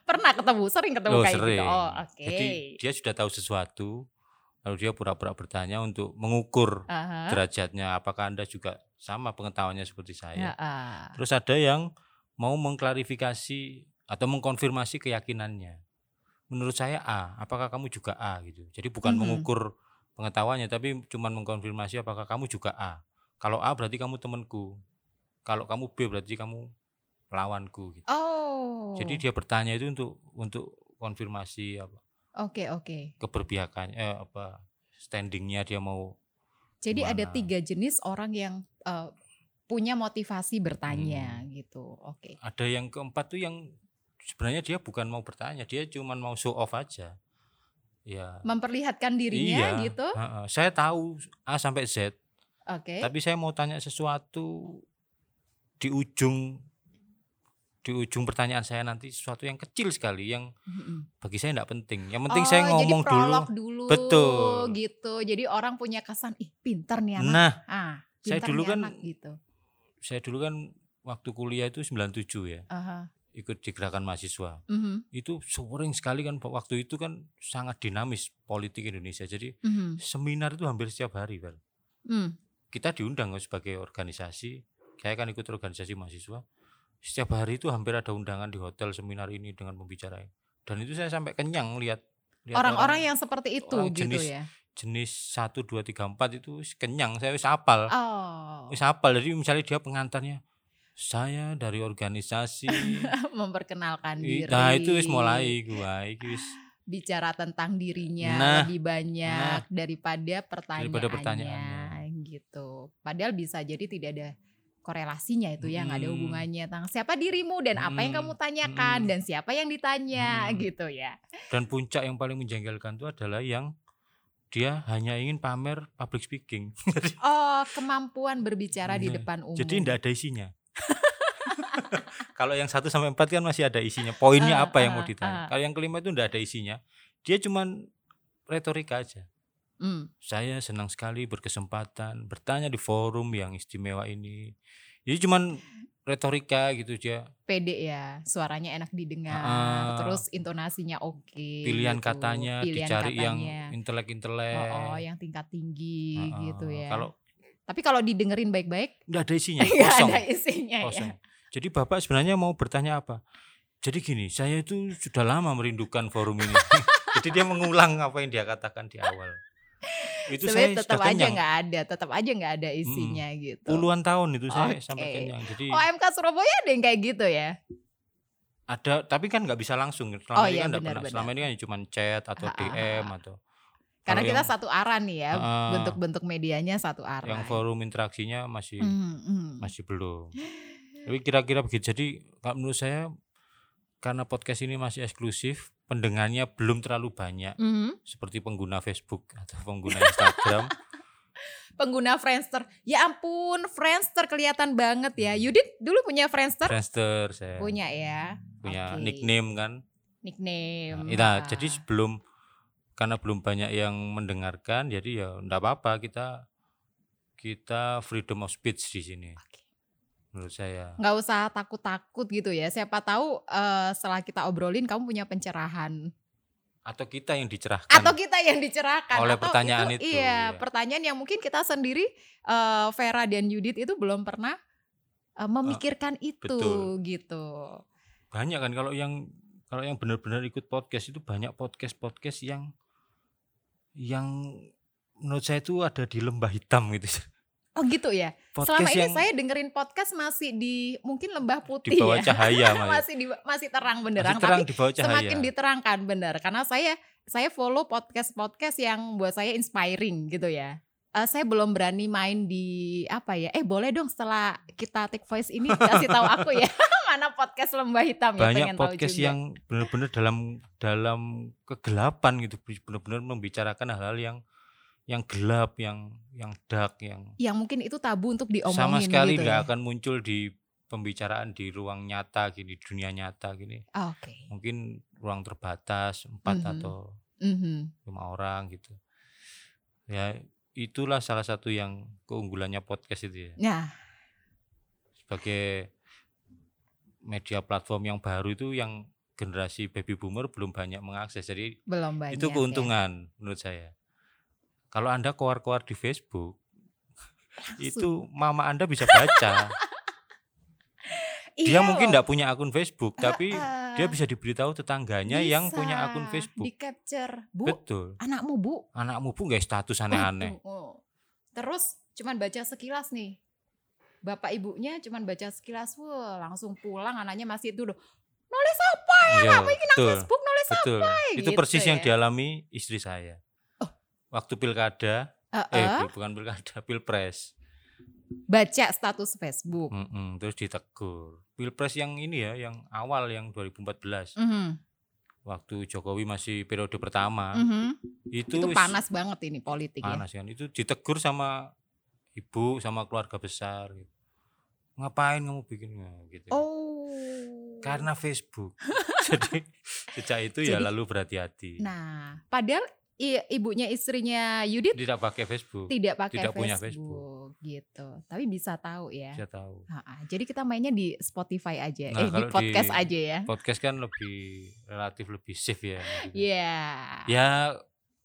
A: Pernah ketemu, sering ketemu
B: Loh,
A: kayak gitu.
B: sering.
A: Oh, oke.
B: jadi dia sudah tahu sesuatu lalu dia pura-pura bertanya untuk mengukur
A: Aha.
B: derajatnya apakah anda juga sama pengetahuannya seperti
A: Ya,
B: saya
A: ah.
B: Terus ada yang mau mengklarifikasi atau mengkonfirmasi keyakinannya. Menurut saya A, apakah kamu juga A gitu. Jadi bukan
A: Mhm.
B: mengukur pengetahuannya tapi cuman mengkonfirmasi apakah kamu juga A. Kalau A berarti kamu temanku. Kalau kamu B berarti kamu lawanku gitu.
A: Oh.
B: Jadi dia bertanya itu untuk untuk konfirmasi apa
A: Oke, oke.
B: keberpihakannya eh, apa standingnya dia mau
A: Jadi ada
B: Gimana?
A: tiga jenis orang yang eh, punya motivasi
B: Hmm.
A: bertanya gitu. Oke.
B: ada yang keempat tuh yang sebenarnya dia bukan mau bertanya dia cuman mau show off aja ya
A: Memperlihatkan dirinya
B: Iya,
A: gitu.
B: heeh. saya tahu A sampai Z
A: Oke.
B: tapi saya mau tanya sesuatu di ujung di ujung pertanyaan saya nanti sesuatu yang kecil sekali yang
A: Mm-mm.
B: bagi saya tidak penting yang
A: Oh,
B: penting saya ngomong
A: jadi
B: dulu
A: prolog dulu.
B: Betul.
A: Gitu. Jadi orang punya kesan ih pinter nih anak.
B: nah
A: ah,
B: saya
A: pinter
B: dulu
A: nih
B: kan
A: anak, gitu.
B: saya dulu kan waktu kuliah itu 97 ya
A: Aha.
B: ikut di gerakan mahasiswa
A: Mhm,
B: itu sering sekali kan waktu itu kan sangat dinamis politik Indonesia jadi
A: mhm,
B: seminar itu hampir setiap hari Bel.
A: mm.
B: kita diundang sebagai organisasi saya kan ikut organisasi mahasiswa setiap hari itu hampir ada undangan di hotel seminar ini dengan pembicara ini. dan itu saya sampai kenyang lihat lihat
A: Orang-orang yang seperti itu
B: Ya, orang
A: gitu
B: jenis-
A: ya.
B: jenis 1 2 3 4 itu kenyang saya wis hafal
A: Oh,
B: wis hafal jadi misalnya dia pengantarnya saya dari organisasi
A: memperkenalkan
B: i-
A: diri.
B: nah itu wis mulai gua iki wis
A: bicara tentang dirinya
B: Nah,
A: lebih banyak daripada pertanyaannya,
B: Daripada pertanyaannya.
A: gitu. Padahal bisa jadi tidak ada korelasinya itu ya nggak ada
B: Hmm.
A: hubungannya tentang siapa dirimu dan apa yang
B: Hmm,
A: kamu tanyakan
B: hmm.
A: dan siapa yang ditanya
B: Hmm.
A: gitu ya.
B: dan puncak yang paling menjengkelkan itu adalah yang dia hanya ingin pamer public speaking
A: Oh kemampuan berbicara di
B: Nah,
A: depan umum.
B: Jadi tidak ada isinya. Kalau yang satu sampai empat kan masih ada isinya. Poinnya
A: Ah,
B: apa yang
A: ah,
B: mau
A: ah.
B: ditanya? Kalau yang kelima itu tidak ada isinya. Dia cuman retorika aja.
A: Hmm,
B: Saya senang sekali berkesempatan bertanya di forum yang istimewa ini. Jadi cuman retorika gitu
A: Iya
B: dia.
A: pede ya suaranya enak didengar
B: Ah, ah.
A: terus intonasinya oke.
B: Pilihan
A: gitu.
B: katanya
A: Pilihan
B: dicari yang
A: katanya.
B: intelek-intelek.
A: Oh, oh, yang tingkat tinggi
B: Ah, ah.
A: gitu ya.
B: Kalau
A: Tapi kalau didengerin baik-baik
B: tidak ada isinya,
A: nggak
B: kosong.
A: ada isinya ya.
B: kosong. Jadi Bapak sebenarnya mau bertanya apa? Jadi gini, saya itu sudah lama merindukan forum ini. Jadi dia mengulang apa yang dia katakan di awal. Itu
A: Sebenarnya
B: saya
A: tetap
B: sudah
A: aja
B: kenyang. Hmm,
A: nggak ada, tetap aja nggak ada isinya gitu.
B: Puluhan tahun itu saya sampai
A: Oke. Oh,
B: kenyang. Jadi
A: OMK Surabaya ada yang kayak gitu ya?
B: ada tapi kan nggak bisa langsung. Selama
A: Oh,
B: ini
A: iya,
B: kan nggak
A: benar,
B: pernah.
A: benar.
B: Selama ini kan cuma chat atau
A: Ah, ah,
B: DM
A: ah.
B: atau
A: Karena
B: Kalau
A: kita
B: yang-
A: satu arah nih ya,
B: Ah,
A: bentuk-bentuk medianya satu arah.
B: yang forum interaksinya masih
A: Hmm, hmm.
B: masih belum. Tapi kira-kira begitu. Jadi kalau menurut saya karena podcast ini masih eksklusif, pendengarnya belum terlalu banyak.
A: Mhm.
B: seperti pengguna Facebook atau pengguna Instagram.
A: Pengguna Friendster, ya ampun Friendster kelihatan banget ya. Yudit dulu punya Friendster?
B: Hmm. Friendster saya punya,
A: Punya ya, oke.
B: nickname kan.
A: nickname.
B: Nah, nah,
A: Ah.
B: jadi sebelum karena belum banyak yang mendengarkan, jadi ya enggak apa-apa kita kita freedom of speech di sini.
A: Oke.
B: menurut saya.
A: nggak usah takut-takut gitu ya. Siapa tahu eh, setelah kita obrolin kamu punya pencerahan
B: Atau kita yang dicerahkan.
A: atau kita yang dicerahkan
B: Oleh
A: atau
B: pertanyaan itu,
A: Iya,
B: iya.
A: pertanyaan yang mungkin kita sendiri eh, Vera dan Yudit itu belum pernah eh, memikirkan itu
B: Ah, betul.
A: gitu.
B: banyak kan kalau yang kalau yang benar-benar ikut podcast itu banyak podcast podcast yang yang menurut saya itu ada di lembah hitam gitu
A: Oh gitu ya. Selama
B: podcast
A: ini
B: yang
A: saya dengerin podcast masih di mungkin lembah
B: di
A: putih
B: bawah
A: ya.
B: cahaya Maya. masih
A: masih di, masih terang benderang
B: Oh, iya. terang Iya,
A: tapi
B: di bawah cahaya
A: semakin diterangkan bener karena saya saya follow podcast-podcast yang buat saya inspiring gitu ya. Eh, saya belum berani main di apa ya? Eh boleh dong setelah kita take voice ini kasih tahu aku ya mana podcast lembah hitam ya
B: banyak
A: pengen tahu
B: podcast
A: juga.
B: yang benar-benar dalam dalam kegelapan gitu benar-benar membicarakan hal-hal yang yang gelap yang yang dark yang
A: yang mungkin itu tabu untuk diomongin
B: sama sekali
A: gitu
B: tidak
A: ya.
B: akan muncul di pembicaraan di ruang nyata gini di dunia nyata gini
A: Ah, Oke.
B: mungkin ruang terbatas empat
A: Mhm.
B: atau
A: Mhm.
B: lima orang gitu ya itulah salah satu yang keunggulannya podcast itu ya
A: Nah,
B: sebagai media platform yang baru itu yang generasi baby boomer belum banyak mengakses jadi
A: belum banyak.
B: itu
A: ya.
B: keuntungan menurut saya kalau anda keluar-keluar di Facebook itu mama anda bisa baca dia
A: Iya
B: mungkin
A: loh.
B: tidak punya akun Facebook tapi
A: Heeh.
B: dia bisa diberitahu tetangganya yang punya akun
A: Bisa
B: Facebook
A: Di capture, Bu.
B: betul
A: Anakmu, Bu.
B: anakmu pun gak status aneh-aneh
A: Waduh, oh. Terus cuman baca sekilas nih. Bapak ibunya cuman baca sekilas, wah langsung pulang anaknya masih itu loh. Nulis apa ya?
B: Iya,
A: Apa ini nang
B: betul.
A: Facebook nulis apa?
B: Betul. Itu
A: gitu
B: persis yang
A: ya.
B: dialami istri saya.
A: Oh.
B: Waktu pilkada, eh
A: Eh, eh,
B: bu- bukan pilkada, pilpres.
A: baca status Facebook.
B: Mm-mm, terus ditegur. Pilpres yang ini ya, yang awal yang 2014.
A: Mhm,
B: Waktu Jokowi masih periode pertama.
A: mhm.
B: Nah, Itu,
A: Itu
B: is-
A: panas banget ini politik ya.
B: panas kan. Itu ditegur sama ibu, sama keluarga besar. Gitu. Ngapain kamu bikin Nah, gitu?
A: Oh.
B: Karena Facebook. Jadi sejak itu ya
A: Jadi-
B: lalu berhati-hati.
A: Nah, padahal i- ibunya istrinya Yudit
B: Tidak pakai Facebook.
A: tidak pakai
B: tidak
A: Facebook,
B: punya
A: gitu. Tapi bisa tahu ya.
B: Saya tahu.
A: Ha-ha, Jadi kita mainnya di Spotify aja,
B: Nah,
A: eh di
B: kalau di-
A: podcast aja ya.
B: podcast kan lebih relatif lebih safe ya. maksudnya.
A: Iya.
B: Ya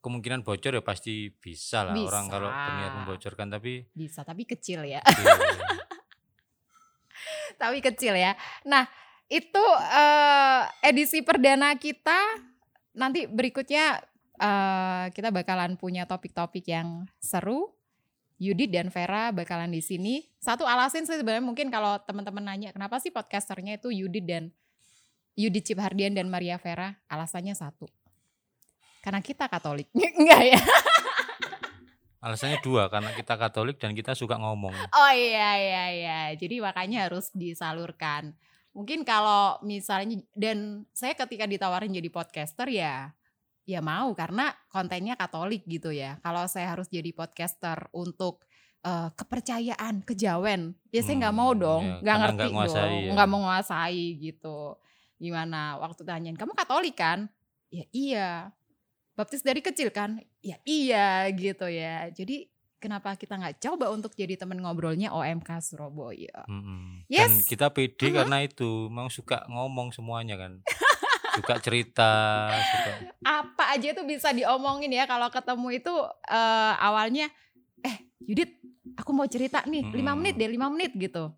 B: kemungkinan bocor ya pasti bisa lah orang
A: Bisa.
B: kalau berniat membocorkan tapi
A: Bisa, tapi kecil ya.
B: ya,
A: tapi kecil ya. Nah, itu eh, edisi perdana kita. Nanti berikutnya eh, kita bakalan punya topik-topik yang seru. Yudit dan Vera bakalan di sini. Satu alasan sih sebenarnya mungkin kalau teman-teman nanya kenapa sih podcasternya itu Yudit dan Yudit Ciphardian dan Maria Vera, alasannya satu. Karena kita Katolik. Enggak ya?
B: alasannya dua karena kita Katolik dan kita suka ngomong.
A: Oh iya iya iya. Jadi makanya harus disalurkan. Mungkin kalau misalnya dan saya ketika ditawarin jadi podcaster ya ya mau karena kontennya Katolik gitu ya. Kalau saya harus jadi podcaster untuk eh, kepercayaan, kejawen, ya saya nggak
B: Hmm,
A: mau dong,
B: ya,
A: nggak
B: karena
A: ngerti
B: nggak nguasai
A: dong,
B: ya.
A: nggak mau menguasai gitu. Gimana? Waktu tanyain, kamu Katolik kan? Ya iya. Baptis dari kecil kan? Ya iya gitu ya. Jadi kenapa kita nggak coba untuk jadi temen ngobrolnya OMK Surabaya?
B: Mm-mm. Dan
A: Yes.
B: kita
A: Mhm.
B: pede karena itu memang suka ngomong semuanya kan. suka cerita, suka
A: Apa aja tuh bisa diomongin ya kalau ketemu itu eh, awalnya, eh Yudit, aku mau cerita nih lima
B: Mm-mm.
A: menit deh lima menit gitu.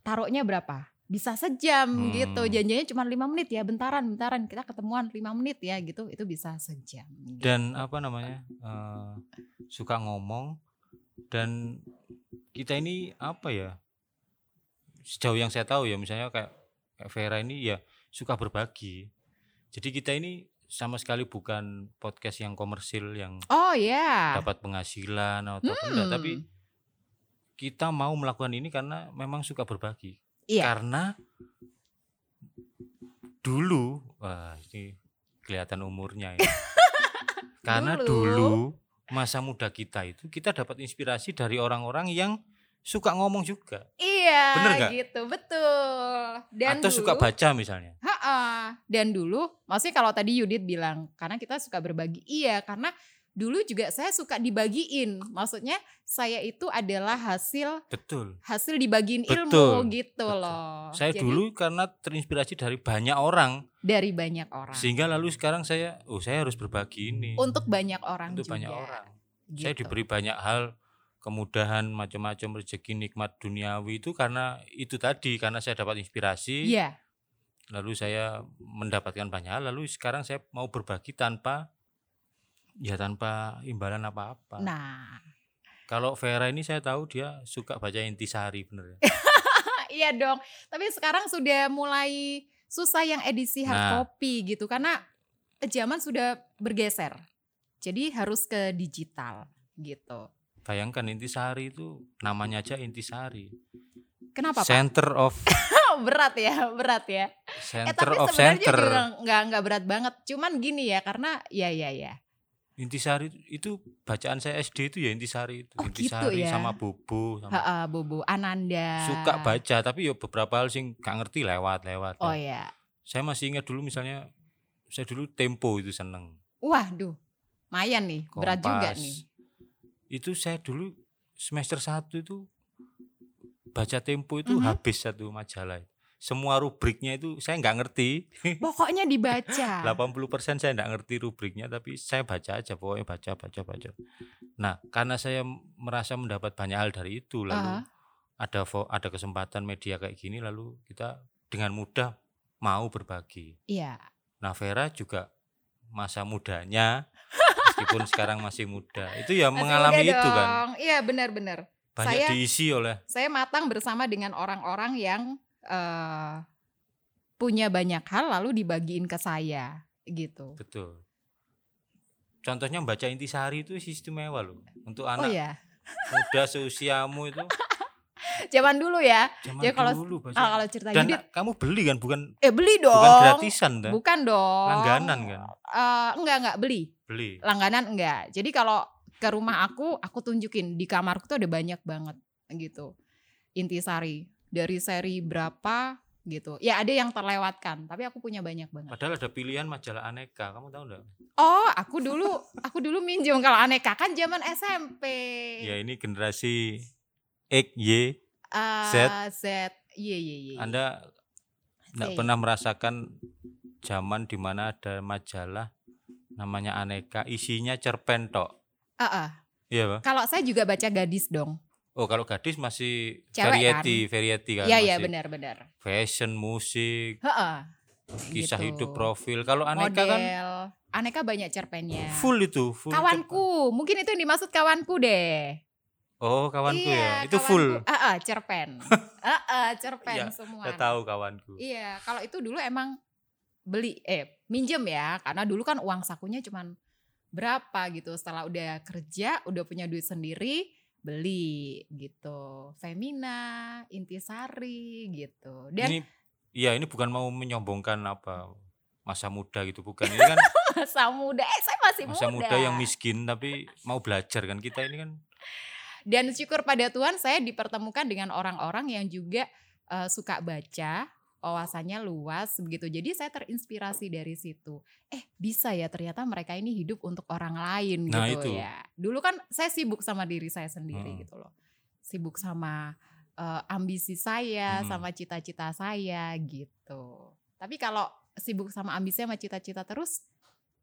A: Taruhnya berapa? Bisa sejam
B: Hmm.
A: gitu. Janjinya cuma lima menit ya, bentaran, bentaran. Kita ketemuan lima menit ya gitu. Itu bisa sejam. gitu.
B: dan apa namanya eh, suka ngomong dan kita ini apa ya sejauh yang saya tahu ya misalnya kayak, kayak Vera ini ya suka berbagi jadi kita ini sama sekali bukan podcast yang komersil yang
A: Oh ya.
B: dapat penghasilan atau apa enggak, tapi
A: Hmm.
B: kita mau melakukan ini karena memang suka berbagi
A: Iya.
B: karena dulu wah ini kelihatan umurnya ya karena
A: Dulu.
B: dulu. masa muda kita itu kita dapat inspirasi dari orang-orang yang suka ngomong juga
A: Iya,
B: Bener nggak?
A: gitu, betul. Dan
B: atau
A: dulu,
B: suka baca misalnya
A: Ha-ha. Dan dulu, maksudnya kalau tadi Yudit bilang, karena kita suka berbagi, iya, karena dulu juga saya suka dibagiin. Maksudnya saya itu adalah hasil
B: betul.
A: hasil dibagiin ilmu
B: Betul,
A: gitu
B: betul.
A: loh.
B: Saya
A: Jadi,
B: dulu karena terinspirasi dari banyak orang,
A: dari banyak orang.
B: sehingga lalu sekarang saya, oh saya harus berbagi ini
A: Untuk banyak orang
B: untuk
A: juga.
B: banyak orang.
A: gitu.
B: Saya diberi banyak hal, kemudahan macam-macam rezeki nikmat duniawi itu karena itu tadi karena saya dapat inspirasi,
A: Iya,
B: lalu saya mendapatkan banyak hal, lalu sekarang saya mau berbagi tanpa ya tanpa imbalan apa-apa.
A: nah
B: Kalau Vera ini saya tahu dia suka baca intisari bener ya.
A: Eh. iya dong. Tapi sekarang sudah mulai susah yang edisi hard
B: Nah.
A: copy gitu karena zaman sudah bergeser. Jadi harus ke digital gitu.
B: Bayangkan intisari itu namanya aja intisari.
A: Kenapa Pak? Eh,
B: Center of
A: berat ya, berat ya. Eh
B: center
A: tapi
B: of
A: sebenarnya
B: center.
A: juga nggak nggak berat banget. Cuman gini ya karena ya ya ya.
B: Intisari itu bacaan saya SD itu ya intisari itu.
A: Oh, gitu
B: intisari
A: ya.
B: sama bobo
A: Ha,
B: sama
A: eh, Bobo Ananda.
B: suka baca tapi ya beberapa hal sing gak ngerti lewat-lewat.
A: Oh ya.
B: Saya masih ingat dulu misalnya saya dulu tempo itu seneng.
A: Waduh. Mayan nih, berat juga
B: Kompas.
A: nih.
B: Itu saya dulu semester 1 itu baca tempo itu
A: Mhm.
B: habis satu majalah. Semua rubriknya itu saya nggak ngerti.
A: Pokoknya dibaca.
B: 80% saya nggak ngerti rubriknya tapi saya baca aja pokoknya baca baca baca. Nah, karena saya merasa mendapat banyak hal dari itu
A: Aha.
B: lalu ada fo- ada kesempatan media kayak gini lalu kita dengan mudah mau berbagi.
A: Iya.
B: Nah, Vera juga masa mudanya meskipun sekarang masih muda. Itu ya
A: Masih
B: mengalami
A: muda
B: itu kan.
A: dong. Iya benar-benar.
B: Banyak
A: Saya-
B: diisi oleh
A: Saya matang bersama dengan orang-orang yang eh, punya banyak hal lalu dibagiin ke saya gitu.
B: betul. Contohnya baca intisari itu istimewa loh untuk
A: Oh
B: anak
A: ya.
B: muda seusiamu itu
A: Zaman dulu ya.
B: zaman
A: Ya, kalau-
B: dulu baca.
A: Ah, kalau cerita
B: Dan
A: Yudit,
B: kamu beli kan bukan
A: eh beli dong.
B: bukan gratisan kan?
A: Bukan dong.
B: Langganan kan?
A: Eh, enggak enggak beli.
B: Beli.
A: Langganan enggak. Jadi kalau ke rumah aku, aku tunjukin di kamarku tuh ada banyak banget gitu. Intisari dari seri berapa gitu. Ya ada yang terlewatkan, tapi aku punya banyak banget.
B: Padahal ada pilihan majalah aneka, kamu tahu enggak?
A: Oh, aku dulu aku dulu minjem kalau aneka kan zaman SMP. Iya.
B: Ya ini generasi X, Y,
A: Ah,
B: Z.
A: Z. Iya, iya, iya.
B: Anda enggak
A: Iya.
B: pernah merasakan zaman di mana ada majalah namanya aneka, isinya cerpen tok.
A: Ah, ah.
B: Iya, Pak.
A: Kalau saya juga baca gadis dong.
B: Oh kalau gadis masih
A: Cewek
B: variety, variety kan
A: Iya, iya,
B: masih
A: benar, benar.
B: fashion, musik,
A: Heeh.
B: kisah
A: Gitu.
B: hidup, profil. Kalau
A: Model.
B: aneka kan
A: Aneka banyak cerpennya.
B: full itu, full.
A: iya.
B: cerpen.
A: kawanku, mungkin itu yang dimaksud kawanku deh.
B: Oh kawanku
A: iya,
B: ya, itu
A: kawanku.
B: full.
A: Ah, ah, cerpen. Ah, ah, cerpen
B: Iya,
A: semua.
B: Saya tahu kawanku.
A: Iya, kalau itu dulu emang beli eh minjem ya, karena dulu kan uang sakunya cuman berapa gitu. Setelah udah kerja, udah punya duit sendiri, beli gitu. Femina, Intisari gitu. Dan
B: ini, iya ini bukan mau menyombongkan apa masa muda gitu bukan ini kan
A: masa muda, eh saya masih
B: masa muda. yang miskin tapi mau belajar kan kita ini kan
A: Dan syukur pada Tuhan saya dipertemukan dengan orang-orang yang juga eh, suka baca, wawasannya luas begitu. Jadi saya terinspirasi dari situ. Eh bisa ya ternyata mereka ini hidup untuk orang lain
B: Nah,
A: gitu
B: itu.
A: ya. Dulu kan saya sibuk sama diri saya sendiri
B: Hmm.
A: gitu loh. Sibuk sama eh, ambisi saya,
B: Hmm.
A: sama cita-cita saya gitu. Tapi kalau sibuk sama ambisi sama cita-cita terus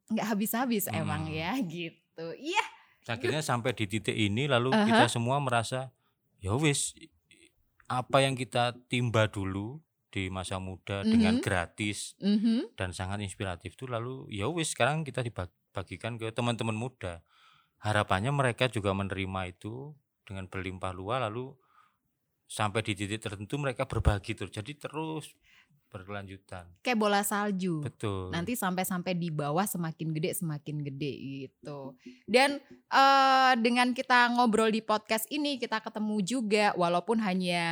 A: nggak habis-habis emang
B: Hmm.
A: ya gitu. Iya
B: akhirnya sampai di titik ini lalu kita semua merasa ya wis apa yang kita timba dulu di masa muda
A: Mhm.
B: dengan gratis
A: Mhm.
B: dan sangat inspiratif itu lalu ya wis sekarang kita dibagikan ke teman-teman muda harapannya mereka juga menerima itu dengan berlimpah luah lalu sampai di titik tertentu mereka berbagi terus jadi terus berkelanjutan
A: kayak bola salju.
B: betul
A: nanti sampai-sampai di bawah semakin gede semakin gede gitu dan eh, dengan kita ngobrol di podcast ini kita ketemu juga walaupun hanya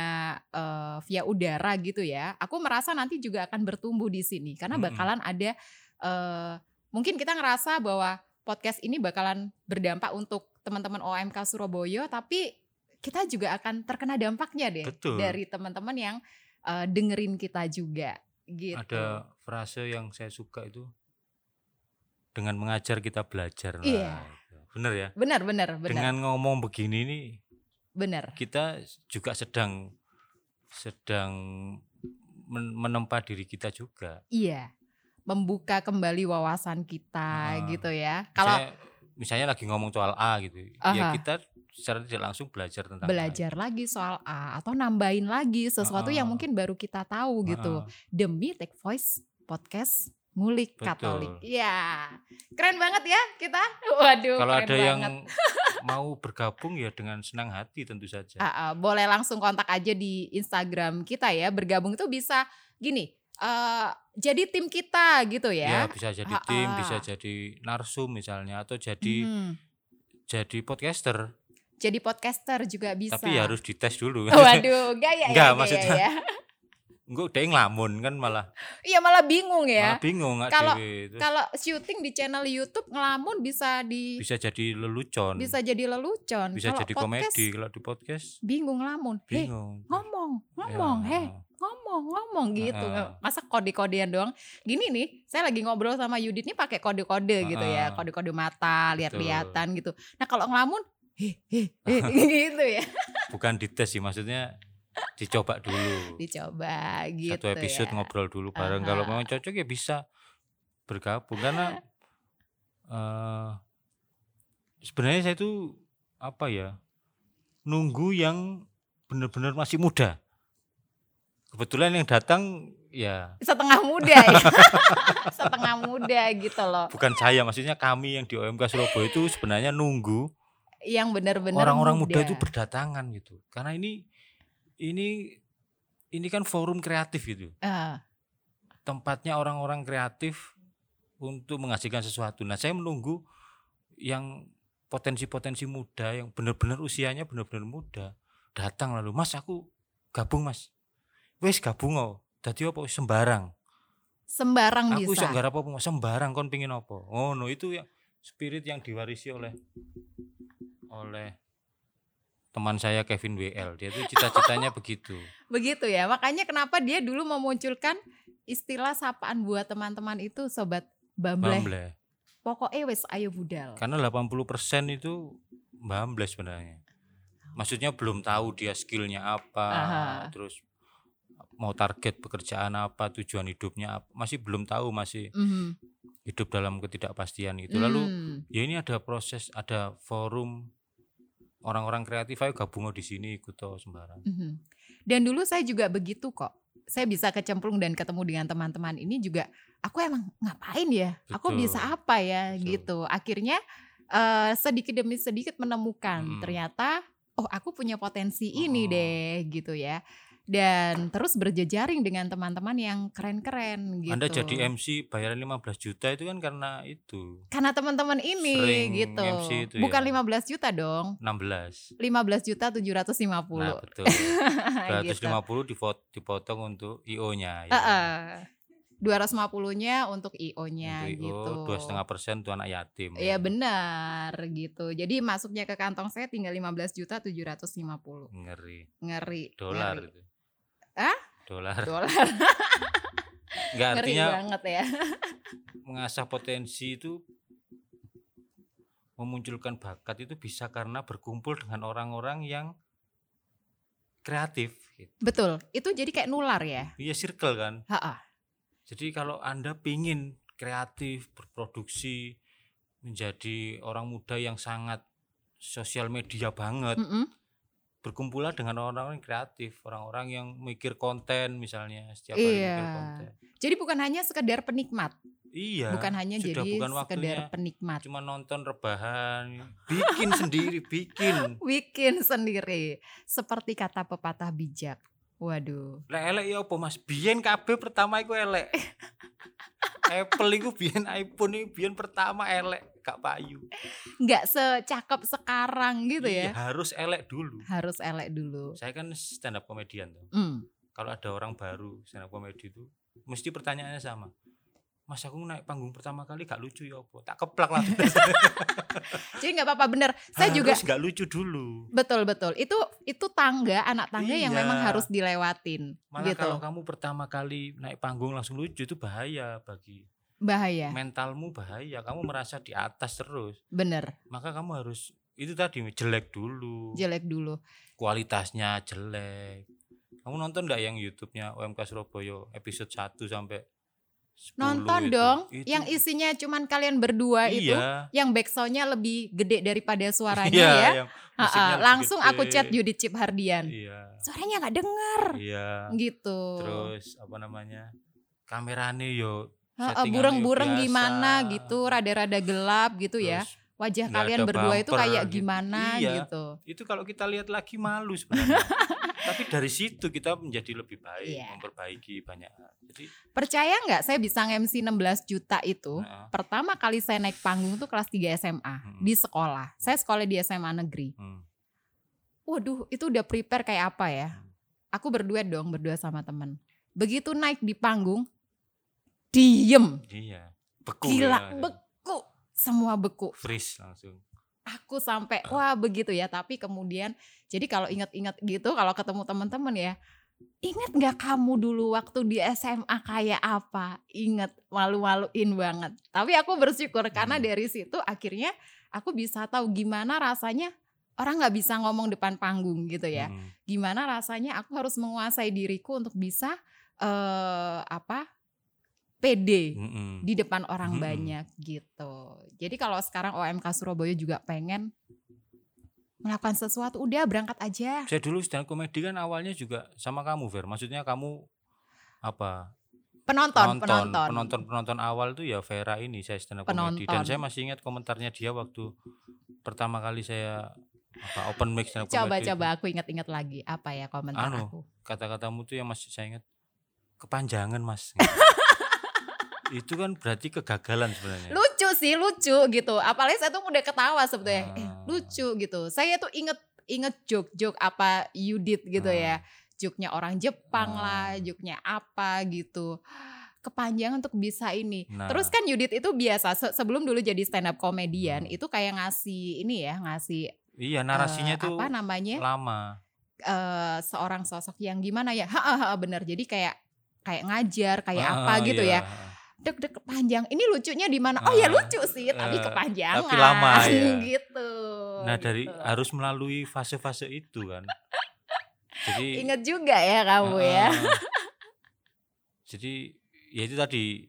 A: eh, via udara gitu ya aku merasa nanti juga akan bertumbuh di sini karena
B: Mm-mm.
A: bakalan ada eh, mungkin kita ngerasa bahwa podcast ini bakalan berdampak untuk teman-teman OMK Surabaya tapi kita juga akan terkena dampaknya deh
B: Betul.
A: dari teman-teman yang eh, dengerin kita juga gitu
B: ada frase yang saya suka itu dengan mengajar kita belajar. Nah,
A: Iya.
B: itu. Bener ya?
A: Benar, benar, benar.
B: Dengan ngomong begini nih
A: Benar.
B: kita juga sedang sedang men- menempa diri kita juga.
A: Iya. Membuka kembali wawasan kita
B: Ah.
A: gitu ya. Kalau
B: Saya- misalnya lagi ngomong soal A gitu,
A: Aha.
B: ya kita secara tidak langsung belajar tentang A.
A: belajar lagi soal A atau nambahin lagi sesuatu yang
B: Ah.
A: mungkin baru kita tahu gitu.
B: Ah,
A: Demi Tech Voice Podcast Ngulik
B: Betul.
A: Katolik. Iya. Keren banget ya kita. Waduh,
B: Kalau
A: keren
B: ada
A: banget.
B: yang mau bergabung ya dengan senang hati tentu saja.
A: Ah, ah, boleh langsung kontak aja di Instagram kita ya. Bergabung itu bisa gini, eh jadi tim kita gitu ya.
B: Ya, bisa jadi
A: Ah,
B: tim,
A: ah.
B: bisa jadi narsum misalnya atau jadi
A: Hmm,
B: jadi podcaster,
A: Jadi podcaster juga bisa.
B: tapi ya harus dites dulu.
A: Waduh, gaya ya.
B: Enggak,
A: gaya
B: maksudnya-
A: ya.
B: Enggak udah ngelamun kan malah
A: Iya malah bingung ya.
B: malah bingung nggak
A: Kalau-
B: dhewe. Terus
A: Kalau syuting di channel YouTube ngelamun bisa di
B: bisa jadi lelucon,
A: bisa jadi lelucon.
B: bisa
A: Kalau
B: jadi
A: podcast,
B: komedi kalau di podcast
A: Bingung ngelamun. Heh,
B: bingung.
A: ngomong, ngomong,
B: Ya,
A: heh. ngomong ngomong gitu
B: Heeh.
A: masa kode-kodean doang gini nih saya lagi ngobrol sama Yudit nih pakai kode-kode gitu ya
B: Heeh.
A: kode-kode mata lihat-lihatan gitu nah kalau ngelamun heh, heh, heh, gitu ya
B: Bukan dites sih maksudnya dicoba dulu.
A: dicoba gitu
B: Satu episode
A: ya.
B: ngobrol dulu bareng. Kalau memang cocok ya bisa bergabung karena eh sebenarnya saya itu apa ya? Nunggu yang benar-benar masih muda. Kebetulan yang datang ya
A: setengah muda ya setengah muda gitu loh
B: bukan saya maksudnya kami yang di OMK Surabaya itu sebenarnya nunggu
A: yang benar-benar
B: orang-orang
A: ya.
B: muda itu berdatangan gitu karena ini ini ini kan forum kreatif gitu
A: Eh,
B: tempatnya orang-orang kreatif untuk menghasilkan sesuatu nah saya menunggu yang potensi-potensi muda yang benar-benar usianya benar-benar muda datang lalu mas aku gabung mas wes gabung oh tadi apa sembarang
A: sembarang
B: aku
A: Oh, bisa
B: iso nggarap apa Mas? sembarang kon pingin apa oh no itu ya spirit yang diwarisi oleh oleh teman saya Kevin WL dia tuh cita-citanya begitu
A: begitu ya makanya kenapa dia dulu memunculkan istilah sapaan buat teman-teman itu sobat bambleh
B: Bamble
A: pokoknya wes ayo budal
B: karena 80% itu Bamble sebenarnya maksudnya belum tahu dia skillnya apa
A: Aha.
B: terus mau target pekerjaan apa tujuan hidupnya apa masih belum tahu masih
A: Mhm.
B: hidup dalam ketidakpastian itu lalu
A: Hmm.
B: ya ini ada proses ada forum orang-orang kreatif ayo gabung oh di sini ikut toh sembarang
A: Mhm. Dan dulu saya juga begitu kok. Saya bisa kecemplung dan ketemu dengan teman-teman ini juga. Aku emang ngapain ya? Aku
B: Betul.
A: bisa apa ya?
B: Betul.
A: Gitu. Akhirnya eh, sedikit demi sedikit menemukan
B: Mm.
A: ternyata, oh aku punya potensi ini
B: Mm-mm.
A: deh, gitu ya. Dan terus berjejaring dengan teman-teman yang keren-keren gitu.
B: Anda jadi MC bayaran 15 juta itu kan karena itu
A: Karena teman-teman ini
B: Sering
A: gitu.
B: MC itu ya.
A: Bukan 15 juta dong.
B: 16
A: 15 juta 750.
B: nah betul 250
A: gitu.
B: dipot- dipotong untuk IO nya ya.
A: dua ratus lima puluhnya untuk IO-nya
B: Untuk IO
A: gitu.
B: oh, dua setengah persen untuk anak yatim ya.
A: Iya benar gitu. Jadi masuknya ke kantong saya tinggal 15 juta 750.
B: ngeri
A: Ngeri.
B: dolar
A: ngeri.
B: itu
A: Hah?
B: dolar
A: Dolar.
B: nggak
A: Ngeri
B: artinya
A: banget ya.
B: mengasah potensi itu memunculkan bakat itu bisa karena berkumpul dengan orang-orang yang kreatif gitu.
A: Betul. Itu jadi kayak nular ya.
B: Iya circle kan.
A: Ha-ha.
B: Jadi kalau Anda pingin kreatif, berproduksi, menjadi orang muda yang sangat sosial media banget,
A: Mm-mm.
B: berkumpullah dengan orang-orang yang kreatif, orang-orang yang mikir konten misalnya, setiap hari mikir
A: Iya.
B: konten.
A: Jadi bukan hanya sekedar penikmat,
B: Iya.
A: bukan hanya
B: sudah
A: jadi
B: bukan
A: sekedar
B: waktunya.
A: penikmat.
B: cuma nonton rebahan bikin sendiri bikin
A: Bikin sendiri seperti kata pepatah bijak. Waduh.
B: lek elek ya apa mas biyen kabeh pertama iku elek Apple iku biyen iPhone iku biyen pertama elek gak payu
A: nggak secakep sekarang gitu ya.
B: Iya, harus elek dulu
A: Harus elek dulu.
B: saya kan stand up komedian tuh
A: Mm.
B: kalau ada orang baru stand up komedi itu mesti pertanyaannya sama Mas aku naik panggung pertama kali gak lucu ya apa? Tak keplak lah.
A: Jadi nggak apa-apa bener. Saya juga
B: Harus gak lucu dulu.
A: betul betul. Itu itu tangga anak tangga yang
B: Iya.
A: memang harus dilewatin
B: Malah
A: gitu.
B: kalau kamu pertama kali naik panggung langsung lucu itu bahaya bagi
A: bahaya
B: mentalmu bahaya kamu merasa di atas terus
A: bener
B: maka kamu harus itu tadi jelek dulu
A: jelek dulu
B: kualitasnya jelek kamu nonton nggak yang YouTube-nya UMK Surabaya episode 1 sampai 10
A: nonton
B: itu?
A: dong
B: Itu-
A: yang isinya cuman kalian berdua itu
B: iya,
A: yang backsoundnya lebih gede daripada suaranya
B: iya,
A: ya
B: yang
A: Ha-ha,
B: musiknya lebih
A: langsung aku
B: gede.
A: chat Judit Chip Hardian
B: iya
A: suaranya nggak dengar
B: iya
A: gitu
B: terus apa namanya kamerane yo
A: Ha-ha,
B: settingannya
A: bureng-bureng
B: biasa.
A: gimana gitu rada-rada gelap gitu ya
B: terus
A: wajah
B: nggak
A: kalian
B: ada
A: berdua itu
B: bumper
A: kayak
B: gitu.
A: gimana
B: Iya.
A: gitu
B: itu kalau kita lihat lagi malu sebenarnya tapi dari situ kita menjadi lebih baik
A: Iya.
B: memperbaiki banyak hal. jadi
A: percaya nggak saya bisa MC 16 juta itu
B: nah,
A: pertama kali saya naik panggung tuh kelas 3 SMA
B: Mm.
A: di sekolah saya sekolah di SMA negeri
B: hmm,
A: waduh itu udah prepare kayak apa ya aku berduet dong berdua sama temen begitu naik di panggung diem
B: iya beku
A: gila
B: ya.
A: beku semua beku
B: freeze langsung
A: aku sampai wah begitu ya tapi kemudian jadi kalau ingat-ingat gitu kalau ketemu teman-teman ya ingat nggak kamu dulu waktu di SMA kayak apa ingat malu-maluin banget tapi aku bersyukur karena
B: Hmm.
A: dari situ akhirnya aku bisa tahu gimana rasanya orang nggak bisa ngomong depan panggung gitu ya
B: Mm.
A: gimana rasanya aku harus menguasai diriku untuk bisa eh apa pede
B: Mm-mm.
A: di depan orang
B: Mm-mm.
A: banyak gitu. Jadi kalau sekarang OMK Surabaya juga pengen melakukan sesuatu, udah berangkat aja.
B: Saya dulu stand up komedi kan awalnya juga sama kamu Fer. Maksudnya kamu apa?
A: Penonton, penonton.
B: penonton penonton awal tuh ya Vera ini saya stand up komedi dan
A: Penonton.
B: saya masih ingat komentarnya dia waktu pertama kali saya apa open mic stand up
A: Coba
B: comedy itu.
A: coba aku ingat-ingat lagi apa ya komentar
B: Anu.
A: aku.
B: Kata-katamu tuh yang masih saya ingat kepanjangan Mas. itu kan berarti kegagalan sebenarnya.
A: Lucu sih, lucu gitu. Apalagi saya tuh udah ketawa sebetulnya. Eh,
B: Ah.
A: lucu gitu. Saya tuh inget inget joke-joke apa you did gitu ya. Joknya orang Jepang
B: Ah.
A: lah, joknya apa gitu. Kepanjang untuk bisa ini.
B: Nah.
A: Terus kan Yudit itu biasa se- sebelum dulu jadi stand up komedian
B: Hmm.
A: itu kayak ngasih ini ya, ngasih
B: Iya, narasinya
A: eh,
B: tuh
A: apa namanya?
B: lama.
A: eh, seorang sosok yang gimana ya? Ha benar. Jadi kayak kayak ngajar, kayak apa
B: Ah,
A: gitu
B: iya.
A: ya. Deg-deg kepanjang. Ini lucunya di mana? Oh ya
B: Ah,
A: lucu sih, tapi
B: eh,
A: kepanjangan.
B: tapi lama, ya.
A: gitu.
B: Nah, dari
A: gitu.
B: harus melalui fase-fase itu kan. Jadi
A: Ingat juga ya kamu ya.
B: Heeh. Jadi ya itu tadi